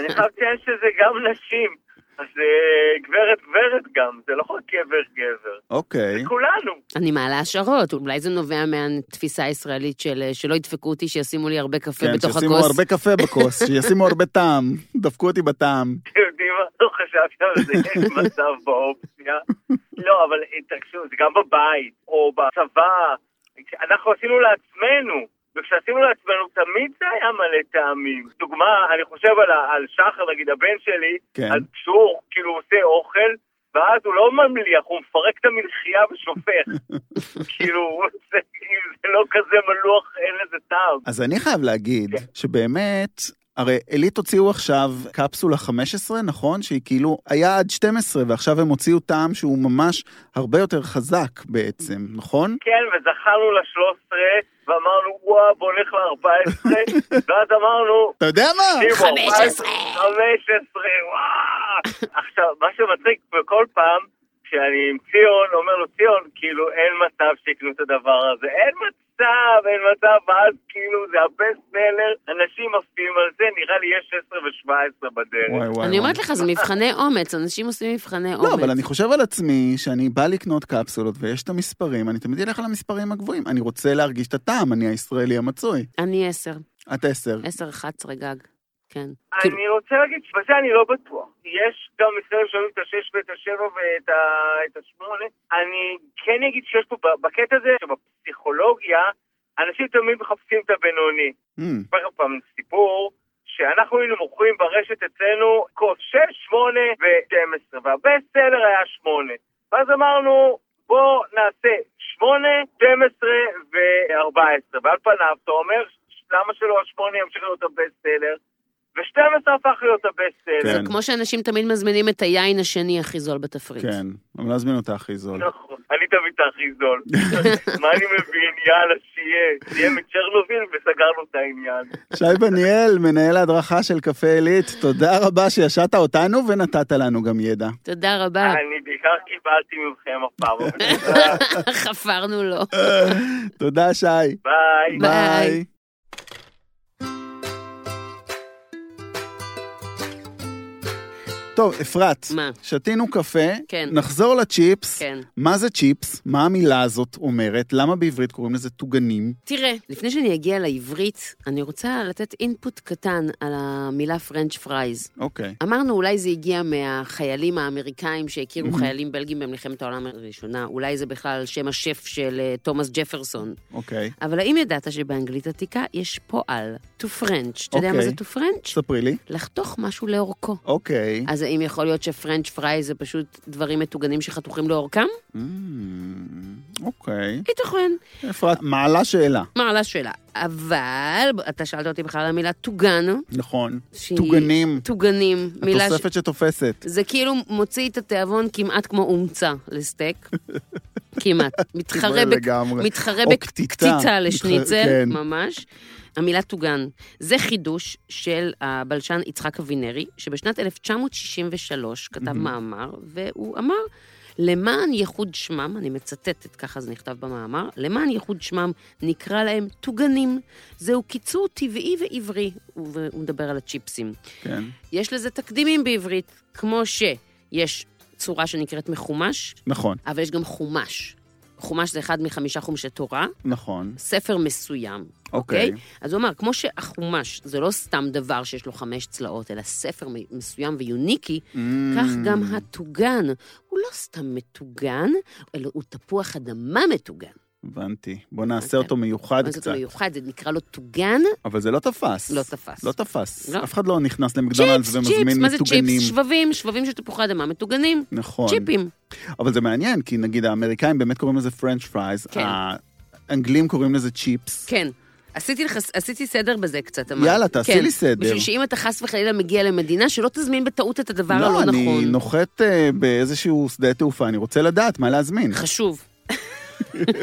D: אני חייב לציין שזה גם נשים. אז אה, גברת גברת גם, זה לא רק גבר גבר.
B: אוקיי.
D: כולנו.
C: אני מעלה השערות, אולי זה נובע מהתפיסה הישראלית של אה, שלא ידפקו אותי, שישימו לי הרבה קפה
B: כן,
C: בתוך
B: שישימו
C: הכוס.
B: הרבה קפה בכוס, שישימו הרבה טעם, דפקו אותי בטעם.
D: אתם יודעים מה? לא חשבתי על זה, אין מצב באופציה. לא, אבל אה, תקשיבו, זה גם בבית, או בצבא. אנחנו עשינו לעצמנו, וכשעשינו לעצמנו תמיד זה היה מלא טעמים. דוגמה, אני חושב על, ה- על שחר, נגיד הבן שלי,
B: כן.
D: אז כשהוא כאילו עושה אוכל, ואז הוא לא ממליח, הוא מפרק את המלחייה ושופך. כאילו, הוא עושה, אם זה לא כזה מלוח, אין לזה טעם.
B: אז אני חייב להגיד
D: כן.
B: שבאמת... הרי עילית הוציאו עכשיו קפסולה 15, נכון? שהיא כאילו, היה עד 12, ועכשיו הם הוציאו טעם שהוא ממש הרבה יותר חזק בעצם, נכון?
D: כן, וזכרנו ל-13, ואמרנו, וואו, בוא נלך ל-14, ואז אמרנו,
B: אתה יודע מה?
D: "תראו,
C: 15.
D: 15, וואו. עכשיו, מה שמצחיק, בכל פעם, כשאני עם ציון, אומר לו, ציון, כאילו, אין מצב שיקנו את הדבר הזה. אין מצב, אין מצב, ואז כאילו, זה הבסט סלר, אנשים עפים על זה, נראה לי יש 16 ו-17 בדרך.
B: וואי, וואי,
C: אני אומרת
B: וואי.
C: לך, זה מבחני אומץ, אנשים עושים מבחני אומץ.
B: לא, אבל אני חושב על עצמי שאני בא לקנות קפסולות ויש את המספרים, אני תמיד אלך על המספרים הגבוהים. אני רוצה להרגיש את הטעם, אני הישראלי המצוי.
C: אני עשר,
B: את עשר.
C: עשר, אחת עשרה גג, כן. כאילו,
D: אני רוצה להגיד שבזה אני לא בטוח. יש גם מסתובב שאוהבים את השש ואת השבע ואת ה... את השמונה. אני כן אגיד שיש פה, ב- בקטע הזה, שבפסיכולוגיה, אנשים תמיד מחפשים את הבינוני.
B: אמ,
D: אספר לך פעם סיפור
E: שאנחנו היינו מוכרים ברשת אצלנו כוס 6, 8 ו-12, והבסט סלר היה 8. ואז אמרנו, בוא נעשה 8, 12 ו-14. ועל פניו אתה אומר, למה שלא ה-8 ימשיך להיות הבסט סלר? ו-12 הפך להיות הבסט סלר.
C: זה
B: כן.
C: כמו שאנשים תמיד מזמינים את היין השני הכי זול בתפריט.
B: כן, אבל להזמין אותה הכי זול.
E: נכון, אני תמיד את הכי זול. מה אני מבין? יאללה, שיהיה. שיהיה מצ'רנוביל וסגרנו את העניין.
B: שי בניאל, מנהל ההדרכה של קפה עילית, תודה רבה שישעת אותנו ונתת לנו גם ידע.
C: תודה רבה,
E: אני בעיקר קיבלתי מכם הפעם. אבל
C: חפרנו לו.
B: תודה, שי.
E: ביי.
C: ביי.
B: טוב, אפרת,
C: מה?
B: שתינו קפה,
C: כן.
B: נחזור לצ'יפס.
C: כן.
B: מה זה צ'יפס? מה המילה הזאת אומרת? למה בעברית קוראים לזה טוגנים?
C: תראה, לפני שאני אגיע לעברית, אני רוצה לתת אינפוט קטן על המילה פרנץ' פרייז.
B: אוקיי.
C: אמרנו, אולי זה הגיע מהחיילים האמריקאים שהכירו חיילים בלגים במלחמת העולם הראשונה, אולי זה בכלל שם השף של אה, תומאס ג'פרסון.
B: אוקיי.
C: אבל האם ידעת שבאנגלית עתיקה יש פועל, to French? אתה יודע מה
B: אוקיי.
C: זה to French?
B: ספרי לי.
C: לחתוך משהו לאורכו.
B: אוקיי.
C: אז האם יכול להיות שפרנץ' פריי זה פשוט דברים מטוגנים שחתוכים לאורכם?
B: אמ, אוקיי.
C: ייתכן.
B: אפרת, מעלה שאלה.
C: מעלה שאלה. אבל אתה שאלת אותי בכלל על המילה טוגן.
B: נכון.
C: שהיא-
B: טוגנים.
C: טוגנים. מילה ש...
B: התוספת שתופסת.
C: זה כאילו מוציא את התיאבון כמעט כמו אומצה לסטייק. כמעט. מתחרה, בק...
B: לגמרי.
C: מתחרה
B: או קטיטה.
C: בקטיטה
B: מתחרה-
C: לשניצל,
B: כן.
C: ממש. המילה טוגן. זה חידוש של הבלשן יצחק אבינרי, שבשנת 1963 כתב מאמר, והוא אמר, למען ייחוד שמם, אני מצטטת, ככה זה נכתב במאמר, למען ייחוד שמם נקרא להם טוגנים. זהו קיצור טבעי ועברי, הוא הוא מדבר על הצ'יפסים.
B: כן.
C: יש לזה תקדימים בעברית, כמו שיש צורה שנקראת מחומש,
B: נכון,
C: אבל יש גם חומש. חומש זה אחד מחמישה חומשי תורה,
B: נכון.
C: ספר מסוים,
B: אוקיי.
C: אוקיי? אז הוא אמר, כמו שהחומש זה לא סתם דבר שיש לו חמש צלעות, אלא ספר מ- מסוים ויוניקי,
B: אמ,
C: כך גם הטוגן. הוא לא סתם מטוגן, אלא הוא תפוח אדמה מטוגן.
B: הבנתי. בוא נעשה
C: אוקיי.
B: אותו מיוחד
C: מה זאת
B: קצת.
C: מיוחד? זה נקרא לו טוגן?
B: אבל זה לא תפס.
C: לא תפס.
B: לא תפס.
C: לא.
B: אף אחד לא נכנס למקדונלדס
C: צ'יפס, צ'יפס,
B: ומזמין
C: מה זה
B: מטוגנים.
C: צ'יפס? שבבים, שבבים של תפוחי אדמה מטוגנים.
B: נכון.
C: צ'יפים.
B: אבל זה מעניין, כי נגיד האמריקאים באמת קוראים לזה פרנץ' פרייז.
C: כן.
B: האנגלים קוראים לזה צ'יפס.
C: כן. עשיתי, לך, עשיתי סדר בזה קצת, אמרת. כן.
B: יאללה, תעשי לי סדר.
C: בשביל שאם אתה חס וחלילה מגיע למדינה, שלא תזמין בטעות את הדבר הלא
B: לא,
C: נכון.
B: אני נוחת אה, באיזשהו שדה תעופה, אני רוצה לדעת מה להזמין.
C: חשוב.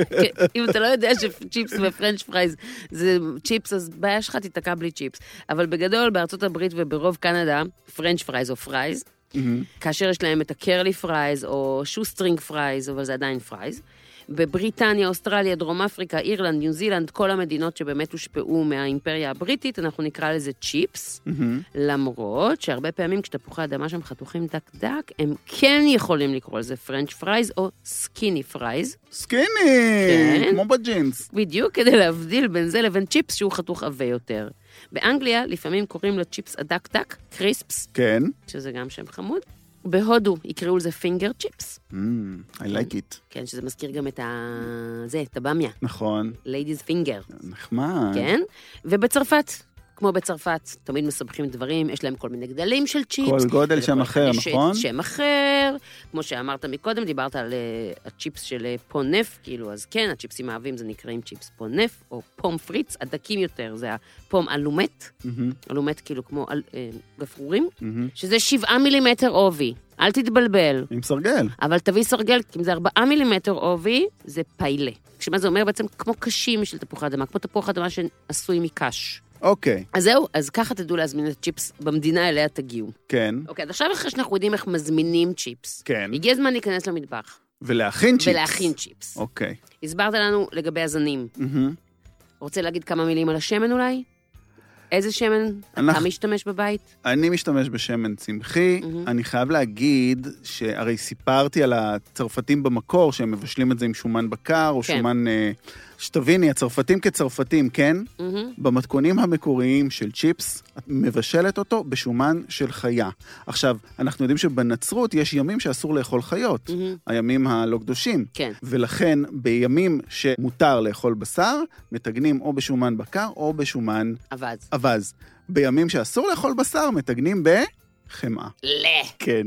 C: כן, אם אתה לא יודע שצ'יפס ופרנץ' פרייז זה צ'יפס, אז בעיה שלך תיתקע בלי צ'יפס. אבל בגדול, בארצות הברית וברוב קנדה, פרנץ' פרייז או פרייז,
B: מהמם.
C: כאשר יש להם את הקרלי פרייז או שוסטרינג פרייז, אבל זה עדיין פרייז. בבריטניה, אוסטרליה, דרום אפריקה, אירלנד, ניו זילנד, כל המדינות שבאמת הושפעו מהאימפריה הבריטית, אנחנו נקרא לזה צ'יפס,
B: מהמם.
C: למרות שהרבה פעמים כשתפוחי אדמה שם חתוכים דק דק, הם כן יכולים לקרוא לזה פרנץ' פרייז או סקיני פרייז,
B: סקיני!
C: כן.
B: כמו בג'ינס.
C: בדיוק כדי להבדיל בין זה לבין צ'יפס שהוא חתוך עבה יותר. באנגליה לפעמים קוראים לצ'יפס הדק דק קריספס,
B: כן.
C: שזה גם שם חמוד. בהודו יקראו לזה פינגר צ'יפס.
B: אמ, I like it.
C: כן, שזה מזכיר גם את ה... זה, את הבמיה,
B: נכון.
C: ladies finger,
B: נחמד.
C: כן? ובצרפת, כמו בצרפת, תמיד מסבכים דברים, יש להם כל מיני גדלים של צ'יפס.
B: כל גודל
C: ולכל
B: שם
C: אחד
B: אחר,
C: יש
B: נכון?
C: שם אחר, כמו שאמרת מקודם, דיברת על אה, הצ'יפס של אה, פונף, כאילו, אז כן, הצ'יפסים העבים זה נקראים צ'יפס פונף, או פום פריץ, הדקים יותר, זה הפום אלומט,
B: מהמם,
C: אלומט כאילו כמו אל- אה, גפרורים,
B: מהמם.
C: שזה שבעה מילימטר עובי, אל תתבלבל.
B: עם סרגל.
C: אבל תביא סרגל, כי אם זה ארבעה מילימטר עובי, זה פיילה. שמה זה אומר בעצם כמו קשים של תפוחי אדמה, כמו תפוח אדמה שעשוי מקש.
B: אוקיי,
C: אז זהו, אז ככה תדעו להזמין את הצ'יפס במדינה אליה תגיעו.
B: כן.
C: אוקיי, אז עכשיו אחרי שאנחנו יודעים איך מזמינים צ'יפס,
B: כן.
C: הגיע הזמן להיכנס למטבח
B: ולהכין צ'יפס.
C: ולהכין צ'יפס.
B: אוקיי.
C: הסברת לנו לגבי הזנים.
B: מהמם.
C: רוצה להגיד כמה מילים על השמן אולי? איזה שמן? אתה
B: אנחנו-
C: משתמש בבית?
B: אני משתמש בשמן צמחי.
C: מהמם.
B: אני חייב להגיד שהרי סיפרתי על הצרפתים במקור, שהם מבשלים את זה עם שומן בקר או
C: כן.
B: שומן אה, שתביני, הצרפתים כצרפתים, כן?
C: מהמם.
B: במתכונים המקוריים של צ'יפס, את מבשלת אותו בשומן של חיה. עכשיו, אנחנו יודעים שבנצרות יש ימים שאסור לאכול חיות,
C: מהמם.
B: הימים הלא קדושים.
C: כן.
B: ולכן, בימים שמותר לאכול בשר, מתגנים או בשומן בקר או בשומן
C: אבז.
B: אווז. בימים שאסור לאכול בשר, מתגנים בחמאה.
C: לא.
B: כן,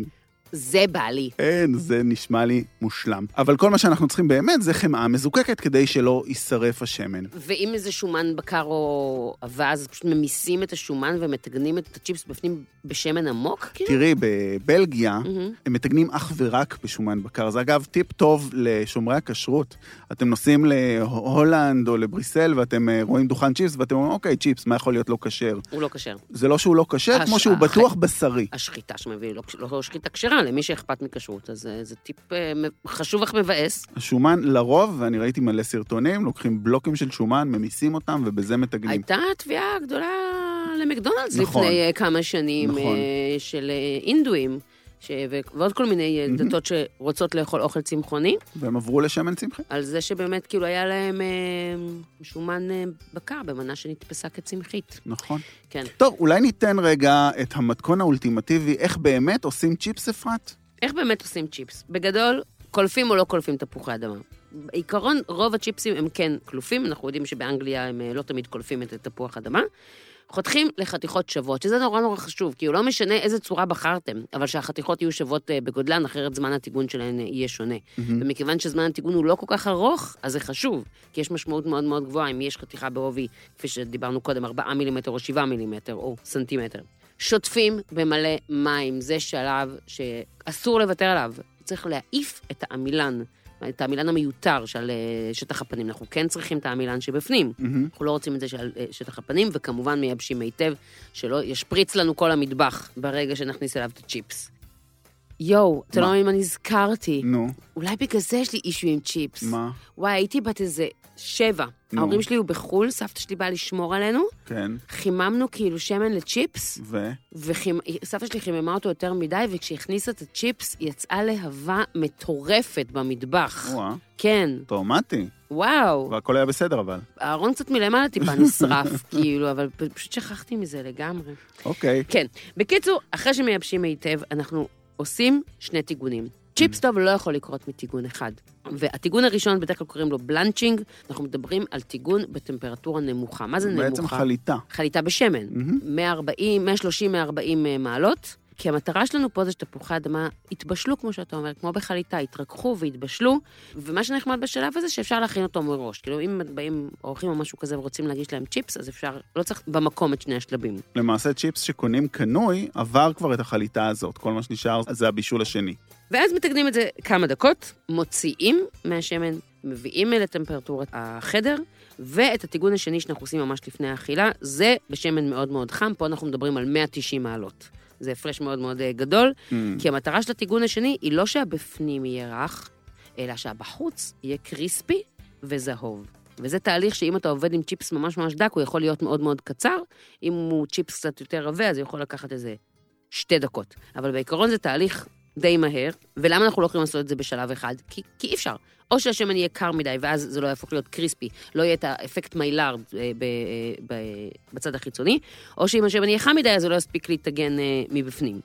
C: זה בא לי.
B: אין, זה נשמע לי מושלם. אבל כל מה שאנחנו צריכים באמת זה חמאה מזוקקת כדי שלא יישרף השמן.
C: ואם איזה שומן בקר או אבז, פשוט ממיסים את השומן ומתגנים את הצ'יפס בפנים בשמן עמוק, כאילו?
B: תראי, בבלגיה,
C: מהמם.
B: הם מתגנים אך ורק בשומן בקר. זה אגב טיפ טוב לשומרי הכשרות. אתם נוסעים להולנד או לבריסל ואתם אה, רואים דוכן צ'יפס ואתם אומרים, אוקיי, צ'יפס, מה יכול להיות לא כשר?
C: הוא לא כשר.
B: זה לא שהוא לא כשר,
C: הש-
B: כמו שהוא
C: החי-
B: בטוח בשרי.
C: השחיטה שמביא, לא, לא שחיטה כשרה, למי שאכפת מכשרות, אז אה, זה טיפ אה, מ- חשוב אך מבאס.
B: השומן לרוב, ואני ראיתי מלא סרטונים, לוקחים בלוקים של שומן, ממיסים אותם ובזה מתגנים.
C: הייתה תביעה גדולה למקדונלדס
B: נכון.
C: לפני אה, כמה שנים,
B: נכון.
C: אה, של אה, הינדואים, ש... ו- ועוד כל מיני אה, דתות שרוצות לאכול אוכל צמחוני,
B: והם עברו לשמן צמחי.
C: על זה שבאמת כאילו היה להם אה, שומן אה, בקר במנה שנתפסה כצמחית.
B: נכון.
C: כן.
B: טוב, אולי ניתן רגע את המתכון האולטימטיבי, איך באמת עושים צ'יפס, אפרת?
C: איך באמת עושים צ'יפס? בגדול, קולפים או לא קולפים תפוחי אדמה. בעיקרון, רוב הצ'יפסים הם כן קלופים, אנחנו יודעים שבאנגליה הם אה, לא תמיד קולפים את התפוח אדמה. חותכים לחתיכות שוות, שזה נורא נורא חשוב, כי הוא לא משנה איזה צורה בחרתם, אבל שהחתיכות יהיו שוות אה, בגודלן, אחרת זמן הטיגון שלהן אה, יהיה שונה. ומכיוון שזמן הטיגון הוא לא כל כך ארוך, אז זה חשוב, כי יש משמעות מאוד מאוד גבוהה אם יש חתיכה בעובי, כפי שדיברנו קודם, 4 מילימטר או 7 מילימטר או סנטימטר. שוטפים במלא מים, זה שלב שאסור לוותר עליו. צריך להעיף את העמילן, את העמילן המיותר שעל אה, שטח הפנים. אנחנו כן צריכים את העמילן שבפנים.
B: מהמם.
C: אנחנו לא רוצים את זה שעל אה, שטח הפנים, וכמובן מייבשים היטב, שלא ישפריץ לנו כל המטבח ברגע שנכניס אליו את הצ'יפס. יואו, אתה
B: מה?
C: לא מבין מה נזכרתי.
B: נו,
C: אולי בגלל זה יש לי אישו עם צ'יפס.
B: מה?
C: וואי, הייתי בת איזה שבע.
B: נו.
C: ההורים שלי היו בחו"ל, סבתא שלי באה לשמור עלינו,
B: כן,
C: חיממנו כאילו שמן לצ'יפס,
B: ו...
C: וסבתא שלי חיממה אותו יותר מדי, וכשהכניסה את הצ'יפס, יצאה להבה מטורפת במטבח.
B: וואה,
C: כן,
B: טראומטי.
C: וואו.
B: והכל היה בסדר, אבל.
C: הארון קצת מלמעלה טיפה נשרף, כאילו, אבל פ- פשוט שכחתי מזה לגמרי.
B: אוקיי.
C: כן. בקיצור, אחרי שמייבשים היטב, אנחנו עושים שני טיגונים.
B: Mm.
C: צ'יפס טוב לא יכול לקרות מטיגון אחד. והטיגון הראשון, בדרך כלל קוראים לו בלנצ'ינג, אנחנו מדברים על טיגון בטמפרטורה נמוכה. מה זה נמוכה?
B: בעצם חליטה.
C: חליטה בשמן.
B: מהמם.
C: 140, 130, 140 אה, מעלות. כי המטרה שלנו פה זה שתפוחי אדמה יתבשלו, כמו שאתה אומר, כמו בחליטה, יתרככו ויתבשלו, ומה שנחמד בשלב הזה, שאפשר להכין אותו מראש. כאילו, אם באים אורחים או משהו כזה ורוצים להגיש להם צ'יפס, אז אפשר, לא צריך במקום את שני השלבים.
B: למעשה צ'יפס שקונים קנוי עבר כבר את החליטה הזאת. כל מה שנשאר זה הבישול השני.
C: ואז מתקנים את זה כמה דקות, מוציאים מהשמן, מביאים לטמפרטורת החדר, ואת הטיגון השני שאנחנו עושים ממש לפני האכילה, זה בשמן מאוד מאוד חם, פה אנחנו מדברים על 190 מעלות. זה הפרש מאוד מאוד אה, גדול,
B: Mm.
C: כי המטרה של הטיגון השני היא לא שהבפנים יהיה רך, אלא שהבחוץ יהיה קריספי וזהוב. וזה תהליך שאם אתה עובד עם צ'יפס ממש ממש דק, הוא יכול להיות מאוד מאוד קצר. אם הוא צ'יפס קצת יותר עבה, אז הוא יכול לקחת איזה שתי דקות. אבל בעיקרון זה תהליך די מהר. ולמה אנחנו לא יכולים לעשות את זה בשלב אחד? כי, כי אי אפשר. או שהשמן יהיה קר מדי, ואז זה לא יהפוך להיות קריספי, לא יהיה את האפקט מיילארד אה, ב- אה, ב- בצד החיצוני, או שאם השמן יהיה חם מדי, אז הוא לא יספיק להתאגן אה, מבפנים.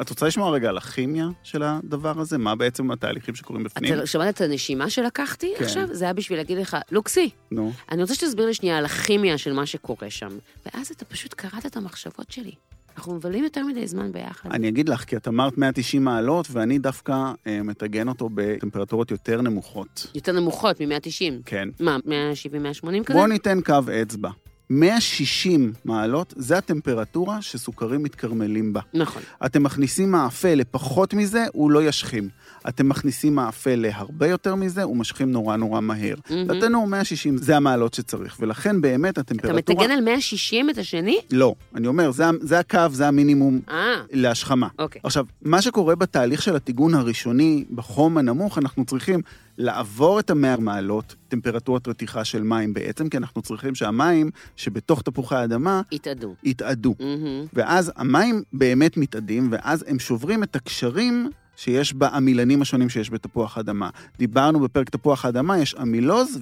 B: את רוצה לשמוע רגע על הכימיה של הדבר הזה? מה בעצם התהליכים שקורים בפנים?
C: אתה שמעת את הנשימה שלקחתי
B: כן.
C: עכשיו? זה היה בשביל להגיד לך, לוקסי,
B: נו,
C: אני רוצה שתסביר לי שנייה על הכימיה של מה שקורה שם. ואז אתה פשוט קראת את המחשבות שלי. אנחנו מבלים יותר מדי זמן ביחד.
B: אני אגיד לך, כי את אמרת 190 מעלות, ואני דווקא אה, מטגן אותו בטמפרטורות יותר נמוכות.
C: יותר נמוכות מ-190.
B: כן.
C: מה, 170, 180 כזה?
B: בואו ניתן קו אצבע. 160 מעלות, זה הטמפרטורה שסוכרים מתקרמלים בה.
C: נכון.
B: אתם מכניסים מאפה לפחות מזה, הוא לא ישכים. אתם מכניסים מאפה להרבה יותר מזה, הוא משכים נורא נורא מהר. דעתנו 160, זה המעלות שצריך, ולכן באמת
C: אתה
B: הטמפרטורה...
C: מטגן על 160 את השני?
B: לא, אני אומר, זה, ה- זה הקו, זה המינימום
C: אה,
B: להשכמה.
C: אוקיי.
B: עכשיו, מה שקורה בתהליך של הטיגון הראשוני, בחום הנמוך, אנחנו צריכים לעבור את המאה מעלות, טמפרטורת רתיחה של מים בעצם, כי אנחנו צריכים שהמים שבתוך תפוחי האדמה
C: התאדו.
B: יתאדו.
C: מהמם.
B: ואז המים באמת מתאדים, ואז הם שוברים את הקשרים שיש בעמילנים השונים שיש בתפוח אדמה. דיברנו בפרק תפוח אדמה, יש עמילוז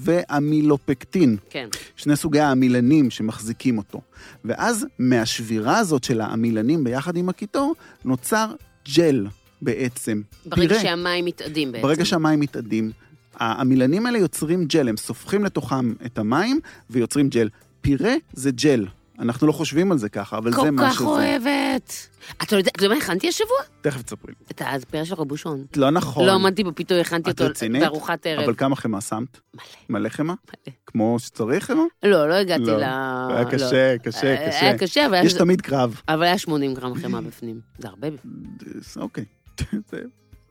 B: ועמילופקטין,
C: כן.
B: שני סוגי העמילנים שמחזיקים אותו. ואז מהשבירה הזאת של העמילנים ביחד עם הקיטור, נוצר ג'ל בעצם.
C: ברגע
B: פירה.
C: שהמים מתאדים בעצם.
B: ברגע שהמים מתאדים, העמילנים האלה יוצרים ג'ל, הם סופחים לתוכם את המים ויוצרים ג'ל. פירה זה ג'ל. אנחנו לא חושבים על זה ככה, אבל
C: כל
B: זה מה
C: כך
B: שזה.
C: אוהבת. אתה יודע, אתה יודע מה הכנתי השבוע?
B: תכף תספרי לי.
C: את הפרש של רבושון.
B: לא נכון.
C: לא עמדתי בפיתוי, הכנתי
B: את
C: אותו
B: רצינית?
C: בארוחת ערב.
B: אבל כמה חמאה שמת?
C: מלא.
B: מלא חמאה?
C: מלא.
B: כמו שצריך חמאה?
C: לא, לא הגעתי
B: לא.
C: ל...
B: היה
C: לא.
B: קשה, קשה,
C: היה
B: קשה.
C: קשה, אבל היה-
B: יש תמיד קרב.
C: אבל היה 80 גרם חמאה בפנים. זה הרבה.
B: אוקיי. זה-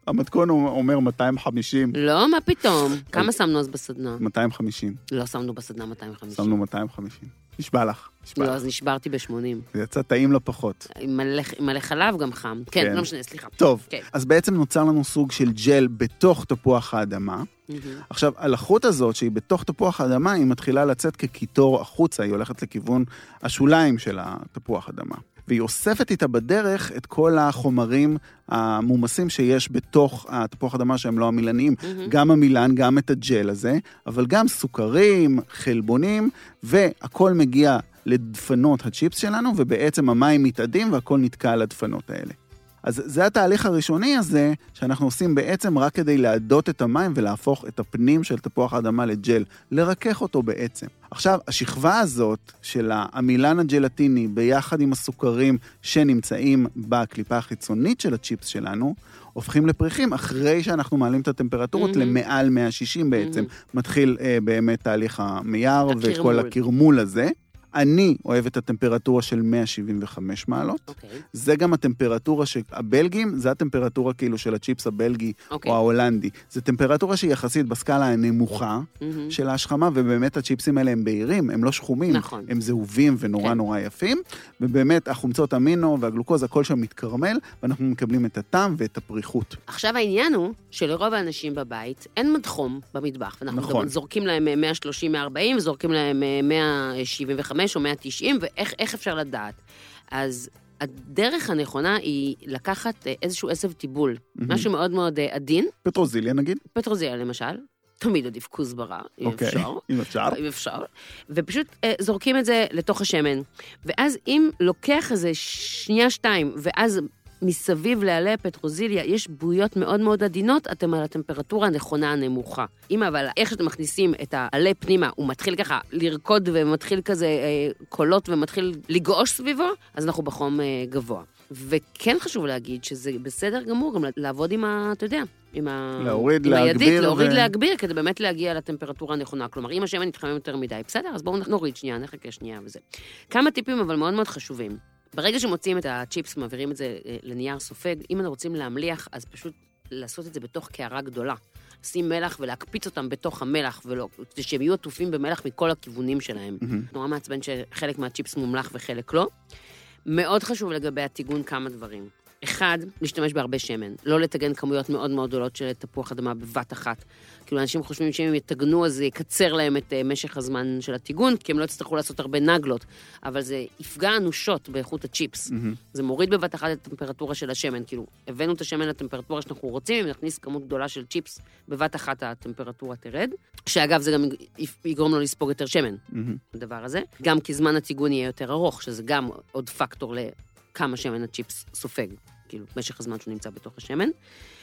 B: המתכון אומר 250.
C: לא, מה פתאום? כמה שמנו אז בסדנה?
B: 250.
C: לא שמנו בסדנה 250.
B: שמנו 250. נשבע לך. נשבע
C: לא,
B: לך.
C: אז נשברתי ב-80.
B: זה יצא טעים לא פחות.
C: עם מלא- עם מלא חלב גם חם. כן,
B: כן.
C: לא משנה, סליחה.
B: טוב,
C: כן.
B: אז בעצם נוצר לנו סוג של ג'ל בתוך תפוח האדמה.
C: מהמם.
B: עכשיו, הלחות הזאת, שהיא בתוך תפוח האדמה, היא מתחילה לצאת כקיטור החוצה, היא הולכת לכיוון השוליים של התפוח אדמה. והיא אוספת איתה בדרך את כל החומרים המומסים שיש בתוך התפוח אדמה שהם לא עמילניים.
C: מהמם.
B: גם עמילן, גם את הג'ל הזה, אבל גם סוכרים, חלבונים, והכל מגיע לדפנות הצ'יפס שלנו, ובעצם המים מתאדים והכל נתקע על הדפנות האלה. אז זה התהליך הראשוני הזה, שאנחנו עושים בעצם רק כדי להדות את המים ולהפוך את הפנים של תפוח האדמה לג'ל, לרכך אותו בעצם. עכשיו, השכבה הזאת של העמילן הג'לטיני ביחד עם הסוכרים שנמצאים בקליפה החיצונית של הצ'יפס שלנו, הופכים לפריחים אחרי שאנחנו מעלים את הטמפרטורות
C: מהמם.
B: למעל 160 בעצם. מתחיל אה, באמת תהליך המייר
C: הקרמול.
B: וכל הקרמול הזה. אני אוהב את הטמפרטורה של 175 מעלות.
C: אוקיי,
B: זה גם הטמפרטורה של הבלגים, זה הטמפרטורה כאילו של הצ'יפס הבלגי
C: אוקיי.
B: או ההולנדי. זו טמפרטורה שהיא יחסית בסקאלה הנמוכה
C: מהמם.
B: של ההשכמה, ובאמת הצ'יפסים האלה הם בהירים, הם לא שחומים,
C: נכון.
B: הם זהובים ונורא
C: כן.
B: נורא יפים, ובאמת החומצות אמינו והגלוקוז, הכל שם מתקרמל, ואנחנו מקבלים את הטעם ואת הפריחות.
C: עכשיו העניין הוא שלרוב האנשים בבית אין מדחום במטבח, ואנחנו
B: נכון.
C: נכון. זורקים להם אה, 130, 140, וזורקים להם אה, 175 או 190, ואיך איך אפשר לדעת? אז הדרך הנכונה היא לקחת אה, איזשהו עשב טיבול, משהו מאוד מאוד אה, עדין,
B: פטרוזיליה נגיד,
C: פטרוזיליה למשל, תמיד עדיף כוסברה, אם
B: אוקיי,
C: אפשר. אה,
B: אם אפשר.
C: אם אפשר, ופשוט אה, זורקים את זה לתוך השמן. ואז אם לוקח איזה שנייה-שתיים, ואז מסביב לעלי הפטרוזיליה יש בועיות מאוד מאוד עדינות, אתם על הטמפרטורה הנכונה הנמוכה. אם אבל איך שאתם מכניסים את העלה פנימה, הוא מתחיל ככה לרקוד ומתחיל כזה אה, קולות ומתחיל לגעוש סביבו, אז אנחנו בחום אה, גבוה. וכן חשוב להגיד שזה בסדר גמור גם לעבוד עם ה... אתה יודע, עם ה...
B: להוריד,
C: עם הידית,
B: להגביר
C: להוריד,
B: ו-
C: להגביר, כדי באמת להגיע לטמפרטורה הנכונה. כלומר, אם השמן יתחמם יותר מדי, בסדר, אז בואו נוריד שנייה, נחכה שנייה וזה. כמה טיפים אבל מאוד מאוד חשובים. ברגע שמוציאים את הצ'יפס, מעבירים את זה אה, לנייר סופג, אם אנחנו רוצים להמליח, אז פשוט לעשות את זה בתוך קערה גדולה. לשים מלח ולהקפיץ אותם בתוך המלח, ולא, כדי שהם יהיו עטופים במלח מכל הכיוונים שלהם.
B: מהמם.
C: נורא מעצבן שחלק מהצ'יפס מומלח וחלק לא. מאוד חשוב לגבי הטיגון כמה דברים. אחד, להשתמש בהרבה שמן. לא לטגן כמויות מאוד מאוד גדולות של תפוח אדמה בבת אחת. כאילו, אנשים חושבים שאם הם יטגנו, אז זה יקצר להם את אה, משך הזמן של הטיגון, כי הם לא יצטרכו לעשות הרבה נגלות. אבל זה יפגע אנושות באיכות הצ'יפס.
B: מהמם.
C: זה מוריד בבת אחת את הטמפרטורה של השמן. כאילו, הבאנו את השמן לטמפרטורה שאנחנו רוצים, אם נכניס כמות גדולה של צ'יפס, בבת אחת הטמפרטורה תרד. שאגב, זה גם יפ- יגרום לו לספוג יותר שמן.
B: מהמם.
C: הדבר הזה. גם כי זמן הטיגון יהיה יותר ארוך, שזה גם עוד פקטור לכמה שמן הצ'יפס סופג, כאילו, משך הזמן שהוא נמצא בתוך השמן.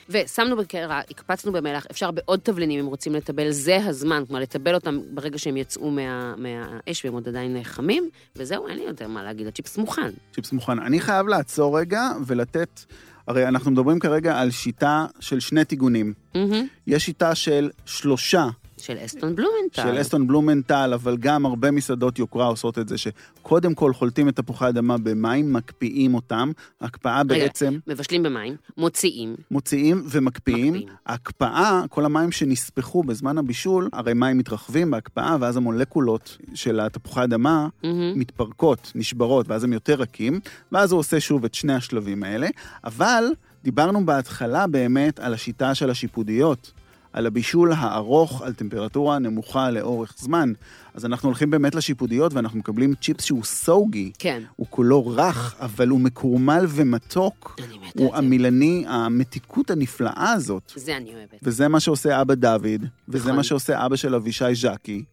C: ושמנו בקערה, הקפצנו במלח, אפשר בעוד תבלינים אם רוצים לטבל, זה הזמן, כלומר לטבל אותם ברגע שהם יצאו מה, מהאש והם עוד עדיין חמים, וזהו, אין לי יותר מה להגיד, הצ'יפס מוכן.
B: צ'יפס מוכן. אני חייב לעצור רגע ולתת, הרי אנחנו מדברים כרגע על שיטה של שני טיגונים.
C: מהמם.
B: יש שיטה של שלושה,
C: של אסטון בלומנטל.
B: של אסטון בלומנטל, אבל גם הרבה מסעדות יוקרה עושות את זה, שקודם כל חולטים את תפוחי אדמה במים, מקפיאים אותם, הקפאה
C: רגע.
B: בעצם,
C: מבשלים במים, מוציאים,
B: מוציאים ומקפיאים.
C: מקפיאים.
B: הקפאה, כל המים שנספחו בזמן הבישול, הרי מים מתרחבים בהקפאה, ואז המולקולות של התפוחי אדמה
C: מהמם.
B: מתפרקות, נשברות, ואז הם יותר רכים, ואז הוא עושה שוב את שני השלבים האלה. אבל דיברנו בהתחלה באמת על השיטה של השיפודיות, על הבישול הארוך, על טמפרטורה נמוכה לאורך זמן. אז אנחנו הולכים באמת לשיפודיות ואנחנו מקבלים צ'יפס שהוא סוגי.
C: כן.
B: הוא כולו רך, אבל הוא מקורמל ומתוק.
C: אני מתה
B: הוא
C: על זה.
B: המילני, המתיקות הנפלאה הזאת.
C: זה אני אוהבת.
B: וזה מה שעושה אבישי דוד, וזה
C: נכון.
B: מה שעושה אבא של אבישי ז'קי.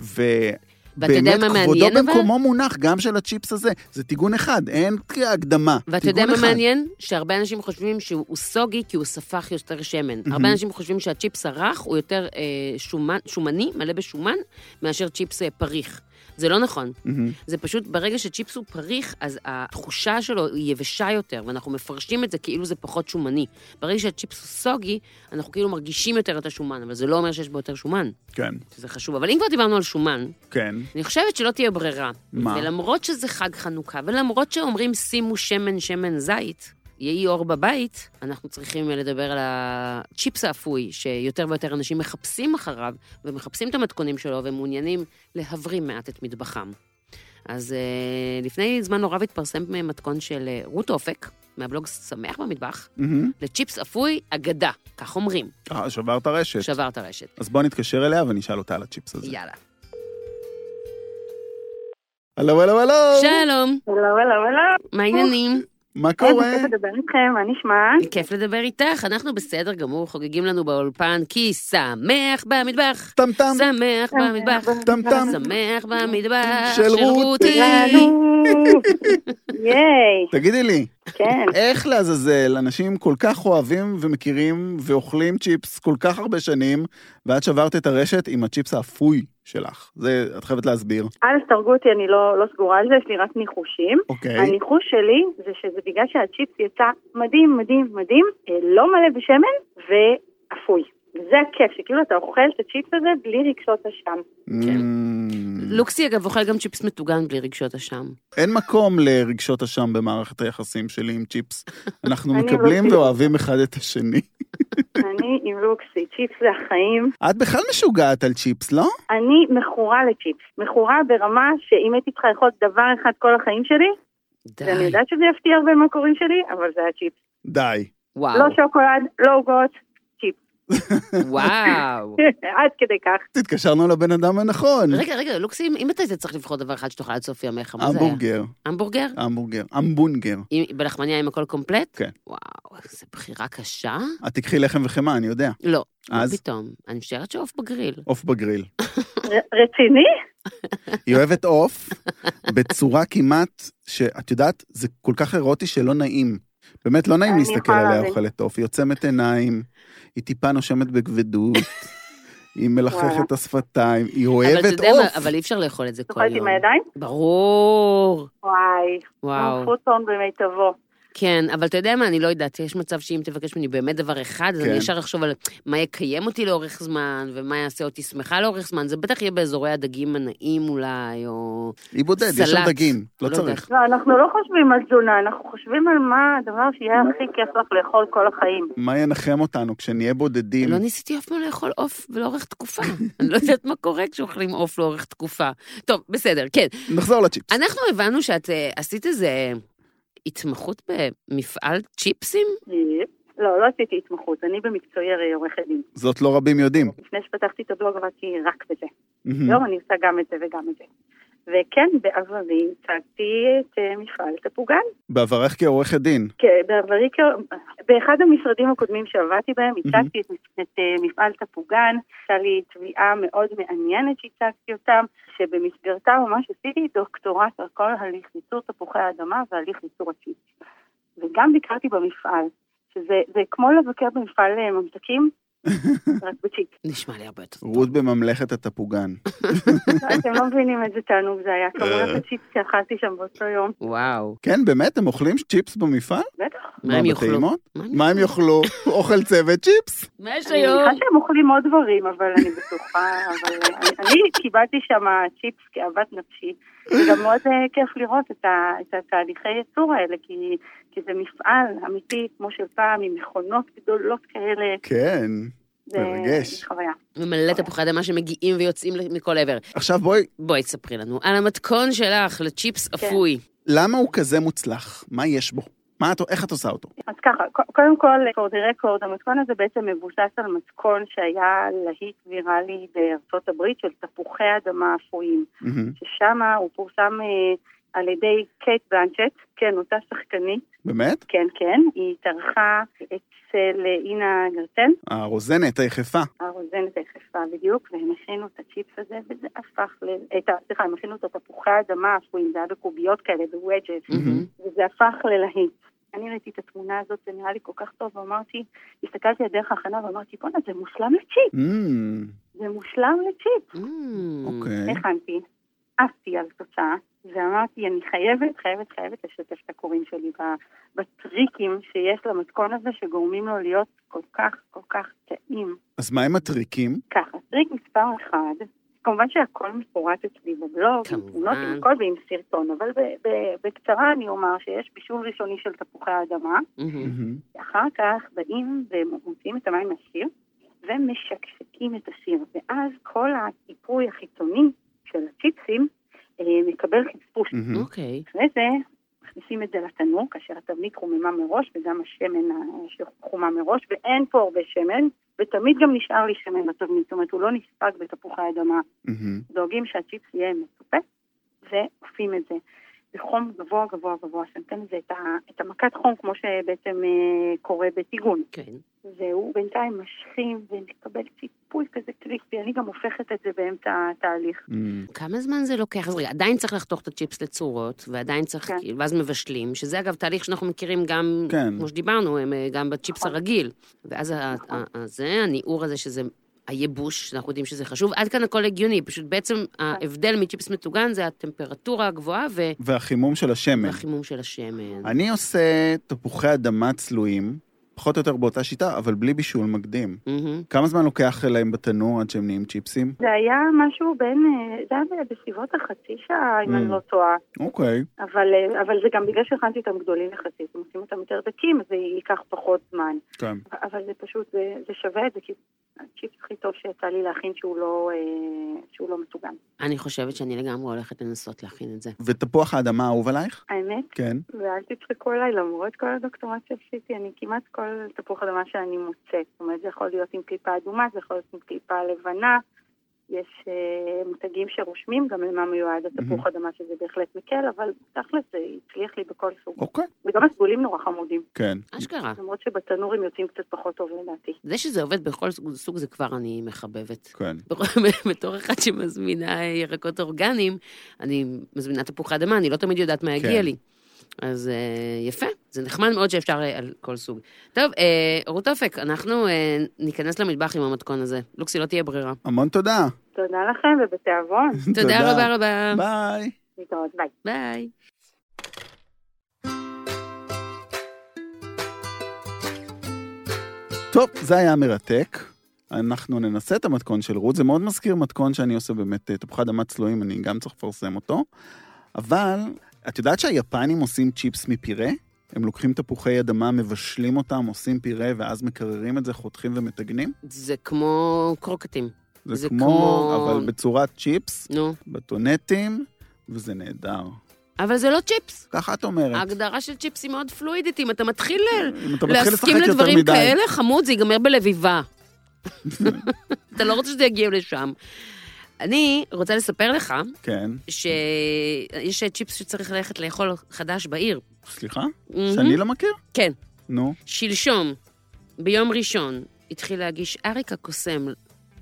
B: ובאמת,
C: ואתה יודע מה
B: כבודו
C: מעניין אבל?
B: במקומו מונח גם של הצ'יפס הזה. זה טיגון אחד, אין הקדמה.
C: ואתה
B: טיגון
C: יודע מה
B: אחד.
C: מעניין? שהרבה אנשים חושבים שהוא הוא סוגי כי הוא ספח יותר שמן. הרבה אנשים חושבים שהצ'יפס הרך הוא יותר אה, שומן- שומני, מלא בשומן, מאשר צ'יפס אה, פריך. זה לא נכון.
B: מהמם.
C: זה פשוט, ברגע שצ'יפס הוא פריך, אז התחושה שלו היא יבשה יותר, ואנחנו מפרשים את זה כאילו זה פחות שומני. ברגע שהצ'יפס הוא סוגי, אנחנו כאילו מרגישים יותר את השומן, אבל זה לא אומר שיש בו יותר שומן,
B: כן,
C: שזה חשוב. אבל אם כבר דיברנו על שומן,
B: כן.
C: אני חושבת שלא תהיה ברירה.
B: מה?
C: ולמרות שזה חג חנוכה, ולמרות שאומרים שימו שמן שמן זית, יהי אור בבית, אנחנו צריכים לדבר על הצ'יפס האפוי, שיותר ויותר אנשים מחפשים אחריו, ומחפשים את המתכונים שלו, ומעוניינים להברים מעט את מטבחם. אז אה, לפני זמן לא רב התפרסם מתכון של אה, רות אופק, מהבלוג שמח במטבח,
B: מהמם.
C: לצ'יפס אפוי אגדה, כך אומרים,
B: Mm-hmm. אה, שברת רשת.
C: שבר את הרשת.
B: אז בוא נתקשר אליה ונשאל אותה על הצ'יפס הזה.
C: יאללה.
B: הלו, הלו, הלו!
C: שלום,
F: הלו, הלו, הלו.
C: מה העניינים?
B: מה קורה?
F: היי, לא. לדבר איתכם, מה נשמע?
C: כיף לדבר איתך, אנחנו בסדר גמור, חוגגים לנו באולפן, כי שמח במטבח,
B: טם טם,
C: שמח במטבח,
B: טם טם.
C: שמח במטבח,
B: של רותי.
C: אוקיי.
F: שלנו. ייי,
B: תגידי לי,
F: כן.
B: איך לעזאזל אנשים כל כך אוהבים ומכירים ואוכלים צ'יפס כל כך הרבה שנים, ואת שברת את הרשת עם הצ'יפס האפוי שלך? זה, את חייבת להסביר.
F: אל תהרגו אותי, אני לא לא סגורה על זה, יש לי רק ניחושים.
B: אוקיי.
F: הניחוש שלי זה שזה בגלל שהצ'יפס יצא מדהים, מדהים, מדהים, אה, לא מלא בשמן ואפוי. וזה הכיף, שכאילו אתה אוכל את הצ'יפס הזה בלי רגשות אשם.
C: כן.
B: Mm,
C: לוקסי אגב אוכל גם צ'יפס מטוגן בלי רגשות אשם.
B: אין מקום לרגשות אשם במערכת היחסים שלי עם צ'יפס. אנחנו
F: אני
B: מקבלים
F: לא-
B: ואוהבים אחד את השני.
F: אני עם לוקסי, צ'יפס זה החיים.
B: את בכלל משוגעת על צ'יפס, לא?
F: אני מכורה לצ'יפס. מכורה ברמה שאם הייתי צריכה לאכול דבר אחד כל החיים שלי, ואני
C: די.
F: יודעת שזה יפתיע הרבה מהקוראים שלי, אבל זה הצ'יפס.
B: די.
C: וואו,
F: לא שוקולד, לא עוגות,
C: וואו.
F: עד כדי כך.
B: התקשרנו לבן אדם הנכון.
C: רגע, רגע, לוקסי, אם אתה היית צריך לבחור דבר אחד שתאכל עד סוף ימיך, מה זה היה?
B: המבורגר,
C: המבורגר?
B: המבורגר, המבונגר.
C: עם- בלחמניה עם הכל קומפלט?
B: כן.
C: וואו, איזו בחירה קשה?
B: את תיקחי לחם וחמאה, אני יודע.
C: לא, מה
B: אז?
C: פתאום. אני משערת שעוף בגריל.
B: עוף בגריל.
F: ר- רציני?
B: היא אוהבת עוף בצורה כמעט, שאת יודעת, זה כל כך אירוטי שלא נעים. באמת, לא נעים
F: אני
B: להסתכל
F: יכולה
B: עליה
F: להבין.
B: אוכלת עוף. היא עוצמת עיניים, היא טיפה נושמת בכבדות, היא מלחכת את השפתיים, היא
C: אבל אתה
B: אוהבת
C: יודע מה,
B: עוף.
C: אבל אי אפשר לאכול את זה כל
F: תאכלת
C: יום.
F: עם הידיים?
C: ברור.
F: וואי,
C: וואו.
F: פוטון במיטבו.
C: כן, אבל אתה יודע מה, אני לא יודעת, יש מצב שאם תבקש ממני באמת דבר אחד, אז
B: כן.
C: אני ישר אחשוב על מה יקיים אותי לאורך זמן, ומה יעשה אותי שמחה לאורך זמן, זה בטח יהיה באזורי הדגים הנעים אולי, או...
B: היא בודד, יש שם
C: סלט.
B: דגים, לא
C: לא
B: צריך.
F: לא, אנחנו לא חושבים על תזונה, אנחנו חושבים על מה הדבר שיהיה הכי כיף לך לאכול כל החיים.
B: מה ינחם אותנו כשנהיה בודדים?
C: לא ניסיתי אף פעם לאכול עוף לאורך תקופה. אני לא יודעת מה קורה כשאוכלים עוף לאורך תקופה. טוב, בסדר, כן.
B: נחזור לצ'יפס.
C: אנחנו הבנו שאת אה, עשית איזה התמחות במפעל צ'יפסים?
F: לא, לא עשיתי התמחות, אני במקצועי הרי עורכת דין.
B: זאת לא רבים יודעים.
F: לפני שפתחתי את הבלוג עבדתי רק בזה.
C: לא.
F: היום אני עושה גם את זה וגם את זה. וכן, בעברי הצגתי את אה, מפעל תפוגן.
B: בעברך כעורכת דין.
F: כן, בעברי, כ- באחד המשרדים הקודמים שעבדתי בהם, הצגתי את, את אה, מפעל תפוגן, הייתה לי תביעה מאוד מעניינת שהצגתי אותם, שבמסגרתה ממש עשיתי דוקטורט על כל הליך ייצור תפוחי האדמה והליך ייצור הצ'יפ. וגם ביקרתי במפעל, שזה זה כמו לבקר במפעל אה, ממתקים, רק בצ'יפ.
C: נשמע לי הרבה יותר טוב.
B: רות בממלכת התפוגן.
F: אתם לא מבינים איזה תענוג זה היה, כמובן הצ'יפ שאכלתי שם באותו יום.
C: וואו.
B: כן, באמת, הם אוכלים צ'יפס במפעל?
F: בטח.
C: מה הם יאכלו?
B: בטעימות?
C: מה הם
B: מה הם יאכלו? אוכל צוות צ'יפס?
C: מה יש
F: אני מניחה
C: היום?
F: שהם אוכלים עוד דברים, אבל אני בטוחה, אבל אני- אני קיבלתי שם צ'יפס כאוות נפשי. וגם מאוד אה, כיף לראות את ה- את התהליכי ייצור האלה, כי כי זה מפעל אמיתי, כמו של פעם, עם מכונות גדולות כאלה.
B: כן.
F: זה-
B: מרגש.
F: זה חוויה.
C: ומלא תפוחי אדמה שמגיעים ויוצאים מכל עבר.
B: עכשיו בואי,
C: בואי
F: כן.
C: תספרי לנו על המתכון שלך לצ'יפס אפוי.
B: למה הוא כזה מוצלח? מה יש בו? מה את, איך את עושה אותו?
F: אז ככה, ק- קודם כל, for the record, המתכון הזה בעצם מבוסס על מתכון שהיה להיט ויראלי בארצות הברית של תפוחי אדמה אפויים,
B: מהמם.
F: ששם הוא פורסם אה, על ידי קייט בלנצ'ט, כן, אותה שחקנית,
B: באמת?
F: כן, כן, היא התארחה אצל אה, אינה גרטן,
B: הרוזנת, היחפה.
F: הרוזנת היחפה בדיוק, והם הכינו את הצ'יפס הזה, וזה הפך ל... את ה... סליחה, הם הכינו את התפוחי האדמה אפויים, זה היה בקוביות כאלה, בווג'ס,
B: מהמם.
F: וזה הפך ללהיט. אני ראיתי את התמונה הזאת, זה נראה לי כל כך טוב, ואמרתי, הסתכלתי על דרך ההכנה ואמרתי, בואנה, זה מושלם לצ'יפ,
B: אמ,
F: זה מושלם לצ'יפ.
B: אוקיי.
F: הכנתי, עפתי על תוצאה, ואמרתי, אני חייבת, חייבת, חייבת לשתף את הקוראים שלי ב- בטריקים שיש למתכון הזה, שגורמים לו להיות כל כך, כל כך טעים.
B: אז מה הם הטריקים?
F: ככה, טריק מספר אחד, כמובן שהכל מפורט אצלי בבלוג, עם
C: כמובן.
F: תמונות, עם הכל ועם סרטון, אבל ב- ב- בקצרה אני אומר שיש בישול ראשוני של תפוחי האדמה,
B: מהמם.
F: אחר כך באים ומוציאים את המים מהסיר, ומשקשקים את הסיר, ואז כל הטיפוי החיצוני של הצ'יפסים אה, מקבל חיפוש.
B: מהמם.
C: אוקיי.
F: אחרי זה מכניסים את זה לתנור, כאשר התבנית חוממה מראש, וגם השמן אה, שחומה מראש, ואין פה הרבה שמן, ותמיד גם נשאר לי שמן בתבנית, זאת אומרת, הוא לא נספג בתפוחי האדמה.
B: מהמם.
F: דואגים שהצ'יפס יהיה מצופה, ועופים את זה. בחום גבוה גבוה גבוה, שנותן לזה את, ה- את המכת חום, כמו שבעצם אה, קורה בטיגון.
C: כן.
F: והוא בינתיים משכים ומקבל ציפוי כזה קריספי, אני גם הופכת את זה באמצע התהליך.
B: אמ,
C: כמה זמן זה לוקח? אז רגע, עדיין צריך לחתוך את הצ'יפס לצורות, ועדיין צריך,
F: כן.
C: כאילו, ואז מבשלים, שזה אגב תהליך שאנחנו מכירים גם,
B: כן.
C: כמו שדיברנו, הם, אה, גם בצ'יפס
F: נכון.
C: הרגיל. ואז ה-
F: נכון.
C: ה- ה- זה, הניעור הזה שזה הייבוש, שאנחנו יודעים שזה חשוב, עד כאן הכל הגיוני, פשוט בעצם
F: נכון.
C: ההבדל מצ'יפס מטוגן זה הטמפרטורה הגבוהה ו-
B: והחימום של השמן.
C: והחימום של השמן.
B: אני עושה תפוחי אדמה צלויים, פחות או יותר באותה שיטה, אבל בלי בישול מקדים.
C: מהמם.
B: כמה זמן לוקח להם בתנור עד שהם נהיים צ'יפסים?
F: זה היה משהו בין, אה, זה היה בסביבות החצי שעה, אם
B: Mm.
F: אני לא טועה.
B: אוקיי.
F: אבל, אה, אבל זה גם בגלל שהכנתי אותם גדולים יחסית, אם עושים אותם יותר דקים, אז זה ייקח פחות זמן.
B: כן.
F: אבל זה פשוט, זה, זה שווה את זה, כי הצ'יפ הכי טוב שיצא לי להכין שהוא לא, אה, שהוא לא מטוגן.
C: אני חושבת שאני לגמרי הולכת לנסות להכין את זה.
B: ותפוח האדמה האהוב עלייך?
F: האמת,
B: כן.
F: ואל תצחקו עליי, למרות כל הדוקטורט שעשיתי, אני כמעט כל תפוח אדמה שאני מוצאת. זאת אומרת, זה יכול להיות עם קליפה אדומה, זה יכול להיות עם קליפה לבנה. יש אה, מותגים שרושמים גם למה מיועד התפוח אדמה, שזה בהחלט מקל, אבל תכל'ס זה הצליח לי בכל סוג.
B: אוקיי.
F: וגם הסגולים נורא חמודים,
B: כן.
C: אשכרה.
F: למרות שבתנור הם יוצאים קצת פחות טוב לדעתי.
C: זה שזה עובד בכל סוג- סוג זה כבר אני מחבבת.
B: כן.
C: בתור אחת שמזמינה ירקות אורגניים, אני מזמינה תפוחי אדמה, אני לא תמיד יודעת מה יגיע
B: כן.
C: לי. אז אה, יפה, זה נחמד מאוד שאפשר אה, על כל סוג. טוב, אה, רות אופק, אנחנו אה, ניכנס למטבח עם המתכון הזה. לוקסי, לא תהיה ברירה.
B: המון תודה.
F: תודה לכם ובתיאבון.
C: תודה רבה
B: אה.
C: רבה.
B: ביי.
F: להתראות, ביי.
C: ביי.
B: טוב, זה היה מרתק. אנחנו ננסה את המתכון של רות. זה מאוד מזכיר מתכון שאני עושה באמת, אה, תפוחי אדמה צלויים, אני גם צריך לפרסם אותו. אבל, את יודעת שהיפנים עושים צ'יפס מפירה? הם לוקחים תפוחי אדמה, מבשלים אותם, עושים פירה, ואז מקררים את זה, חותכים ומטגנים?
C: זה כמו קרוקטים.
B: זה,
C: זה
B: כמו,
C: כמו-
B: אבל בצורת צ'יפס,
C: נו.
B: בטונטים, וזה נהדר.
C: אבל זה לא צ'יפס.
B: ככה את אומרת.
C: ההגדרה של צ'יפס היא מאוד פלואידית. אם אתה מתחיל אה, ל-
B: אם אתה מתחיל לשחק
C: להסכים
B: יותר
C: לדברים
B: מדי.
C: כאלה, חמוד, זה ייגמר בלביבה. אתה לא רוצה שזה יגיע לשם. אני רוצה לספר לך
B: כן,
C: שיש צ'יפס שצריך ללכת לאכול חדש בעיר.
B: סליחה? שאני לא מכיר?
C: Mm-hmm. כן.
B: נו,
C: שלשום, ביום ראשון, התחיל להגיש אריק הקוסם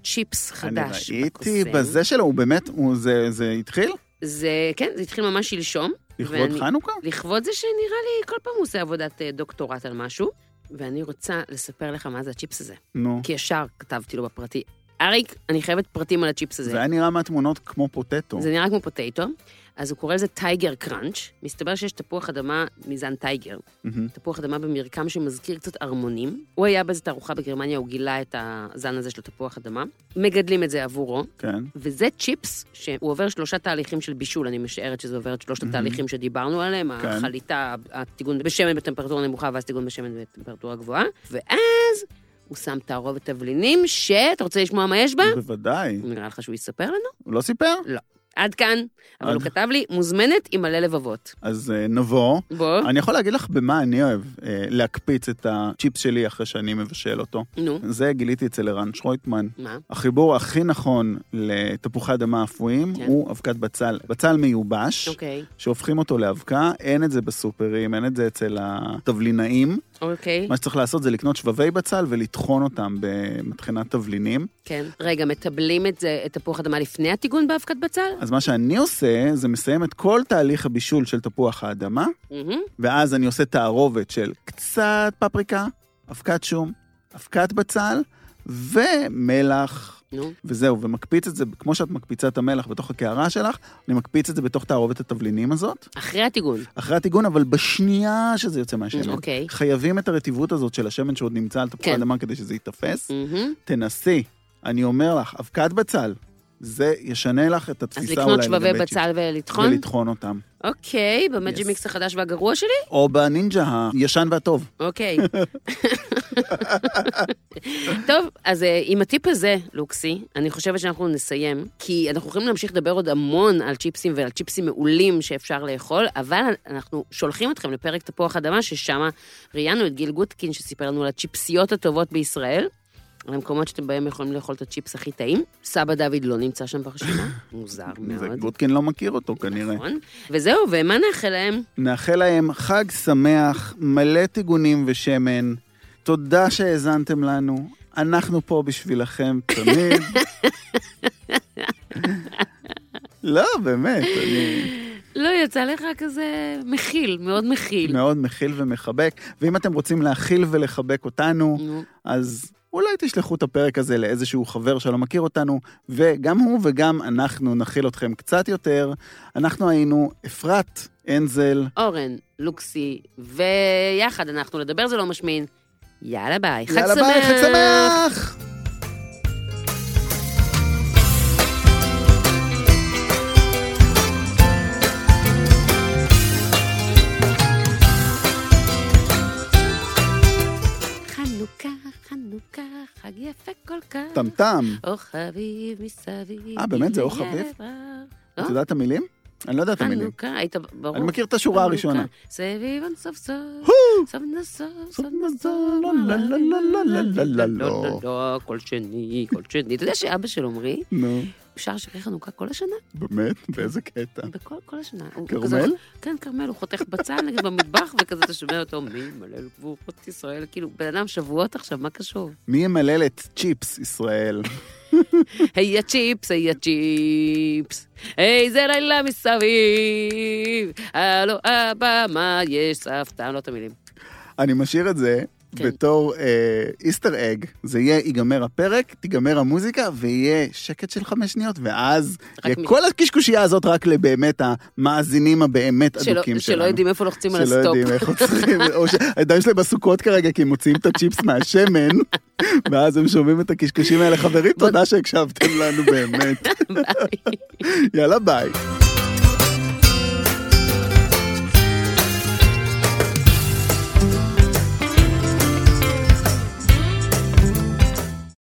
C: צ'יפס
B: אני
C: חדש.
B: ראיתי
C: בקוסם.
B: בזה שלו, הוא באמת, הוא- זה- זה התחיל?
C: זה, כן, זה התחיל ממש שלשום.
B: לכבוד
C: ואני-
B: חנוכה?
C: לכבוד זה שנראה לי כל פעם הוא עושה עבודת אה, דוקטורט על משהו, ואני רוצה לספר לך מה זה הצ'יפס הזה.
B: נו.
C: כי ישר כתבתי לו בפרטי, אריק, אני חייבת פרטים על הצ'יפס הזה.
B: זה היה נראה מהתמונות כמו פוטטו.
C: זה נראה כמו פוטטו, אז הוא קורא לזה טייגר קראנץ'. מסתבר שיש תפוח אדמה מזן טייגר,
B: מהמם.
C: תפוח אדמה במרקם שמזכיר קצת ארמונים. הוא היה באיזו תערוכה בגרמניה, הוא גילה את הזן הזה של תפוח אדמה. מגדלים את זה עבורו,
B: כן.
C: וזה צ'יפס שהוא עובר שלושה תהליכים של בישול, אני משערת שזה עובר את שלושת
B: מהמם.
C: התהליכים שדיברנו עליהם,
B: Mhm. כן.
C: החליטה, הטיגון בשמן בטמפרטורה נמוכה ואז טיגון בשמן בטמפרטורה גבוהה, ואז הוא שם
B: Mhm.
C: תערובת תבלינים, שאתה רוצה לשמוע מה יש בה?
B: בוודאי.
C: נראה לך שהוא יספר לנו?
B: הוא לא סיפר?
C: עד כאן. אבל
B: עד-
C: הוא כתב לי, מוזמנת עם מלא לבבות.
B: אז אה, נבוא.
C: בוא,
B: אני יכול להגיד לך במה אני אוהב אה, להקפיץ את הצ'יפ שלי אחרי שאני מבשל אותו.
C: נו,
B: זה גיליתי אצל ערן שרויטמן.
C: מה?
B: החיבור הכי נכון לתפוחי אדמה אפויים
C: כן.
B: הוא אבקת בצל. בצל מיובש,
C: אוקיי,
B: שהופכים אותו לאבקה, אין את זה בסופרים, אין את זה אצל התבלינאים.
C: אוקיי,
B: מה שצריך לעשות זה לקנות שבבי בצל ולטחון אותם במטחנת תבלינים.
C: כן. רגע, מטבלים את זה, את תפוח אדמה לפני הטיגון באבקת בצל?
B: אז מה שאני עושה, זה מסיים את כל תהליך הבישול של תפוח האדמה,
C: מהמם.
B: ואז אני עושה תערובת של קצת פפריקה, אבקת שום, אבקת בצל ומלח.
C: נו,
B: וזהו, ומקפיץ את זה, כמו שאת מקפיצה את המלח בתוך הקערה שלך, אני מקפיץ את זה בתוך תערובת התבלינים הזאת,
C: אחרי הטיגון.
B: אחרי הטיגון, אבל בשנייה שזה יוצא מהשמן.
C: אוקיי.
B: חייבים את הרטיבות הזאת של השמן שעוד נמצא על תפוחי
C: כן.
B: אדמה כדי שזה ייתפס.
C: מהמם.
B: תנסי, אני אומר לך, אבקת בצל, זה ישנה לך את
C: אז
B: התפיסה אולי
C: לקנות שבבי
B: לגבי צ'יפס.
C: בצל נכון? ולטחון?
B: ולטחון אותם.
C: אוקיי, במג'י מיקס החדש והגרוע שלי?
B: או בנינג'ה הישן והטוב.
C: אוקיי. טוב, אז אה, עם הטיפ הזה, לוקסי, אני חושבת שאנחנו נסיים, כי אנחנו יכולים להמשיך לדבר עוד המון על צ'יפסים ועל צ'יפסים מעולים שאפשר לאכול, אבל אנחנו שולחים אתכם לפרק תפוח אדמה, ששם ראיינו את גיל גוטקין, שסיפר לנו על הצ'יפסיות הטובות בישראל. על המקומות שאתם בהם יכולים לאכול את הצ'יפס הכי טעים. סבא דוד לא נמצא שם ברשימה, מוזר
B: זה
C: מאוד.
B: גוטקין לא מכיר אותו כנראה.
C: נכון. וזהו, ומה נאחל להם?
B: נאחל להם חג שמח, מלא טיגונים ושמן. תודה שהאזנתם לנו, אנחנו פה בשבילכם תמיד. לא, באמת, אני
C: לא יצא לך כזה מכיל, מאוד מכיל.
B: מאוד מכיל ומחבק, ואם אתם רוצים להכיל ולחבק אותנו,
C: נו.
B: אז אולי תשלחו את הפרק הזה לאיזשהו חבר שלא מכיר אותנו, וגם הוא וגם אנחנו נכיל אתכם קצת יותר. אנחנו היינו אפרת אנזל,
C: אורן, לוקסי, ויחד אנחנו לדבר זה לא משמין. יאללה ביי, חג שמח.
B: יאללה ביי, חג שמח!
C: חנוכה, חנוכה, חג יפה כל כך.
B: טמטם,
C: אור חביב מסביב.
B: אה, באמת? זה אור
C: יהיה
B: חביב?
C: רע.
B: את יודעת את המילים? אני לא יודע את המילים.
C: חנוכה, היית אה, ברור.
B: אני מכיר את השורה
C: חנוכה,
B: הראשונה.
C: סביבון סוף סוף.
B: הו!
C: סוף נסוף,
B: סוף
C: סוף
B: נסוף,
C: נסוף,
B: לא, לא, לא, לא, לא, לא, לא, לא, לא.
C: לא, כל שני, כל שני. אתה יודע שאבא של עמרי
B: נו,
C: שר שירי חנוכה כל השנה?
B: באמת? באיזה קטע?
C: בכל כל השנה. הוא
B: כרמל?
C: כזה- כן, כרמל, הוא חותך בצל נגיד במטבח, וכזה אתה שומע אותו, מי מלל גבורות ישראל, כאילו, בן אדם שבועות עכשיו, מה קשור?
B: מי ימלל את צ'יפס ישראל?
C: היי הצ'יפס, היי הצ'יפס, איזה לילה מסביב, הלו הבמה, יש סבתא, לא את המילים.
B: אני משאיר את זה
C: כן.
B: בתור אה, איסטר אג. זה יהיה, ייגמר הפרק, תיגמר המוזיקה, ויהיה שקט של חמש שניות, ואז
C: רק
B: יהיה
C: מי-
B: כל הקשקושייה הזאת רק לבאמת המאזינים הבאמת
C: שלא-
B: אדוקים שלנו.
C: שלא יודעים איפה לוחצים על
B: שלא
C: הסטופ.
B: יודעים איך עוצרים, או שהידיים שלהם בסוכות כרגע, כי הם מוציאים את הצ'יפס מהשמן, ואז הם שומעים את הקשקושים האלה. חברים, תודה שהקשבתם לנו באמת. יאללה, ביי.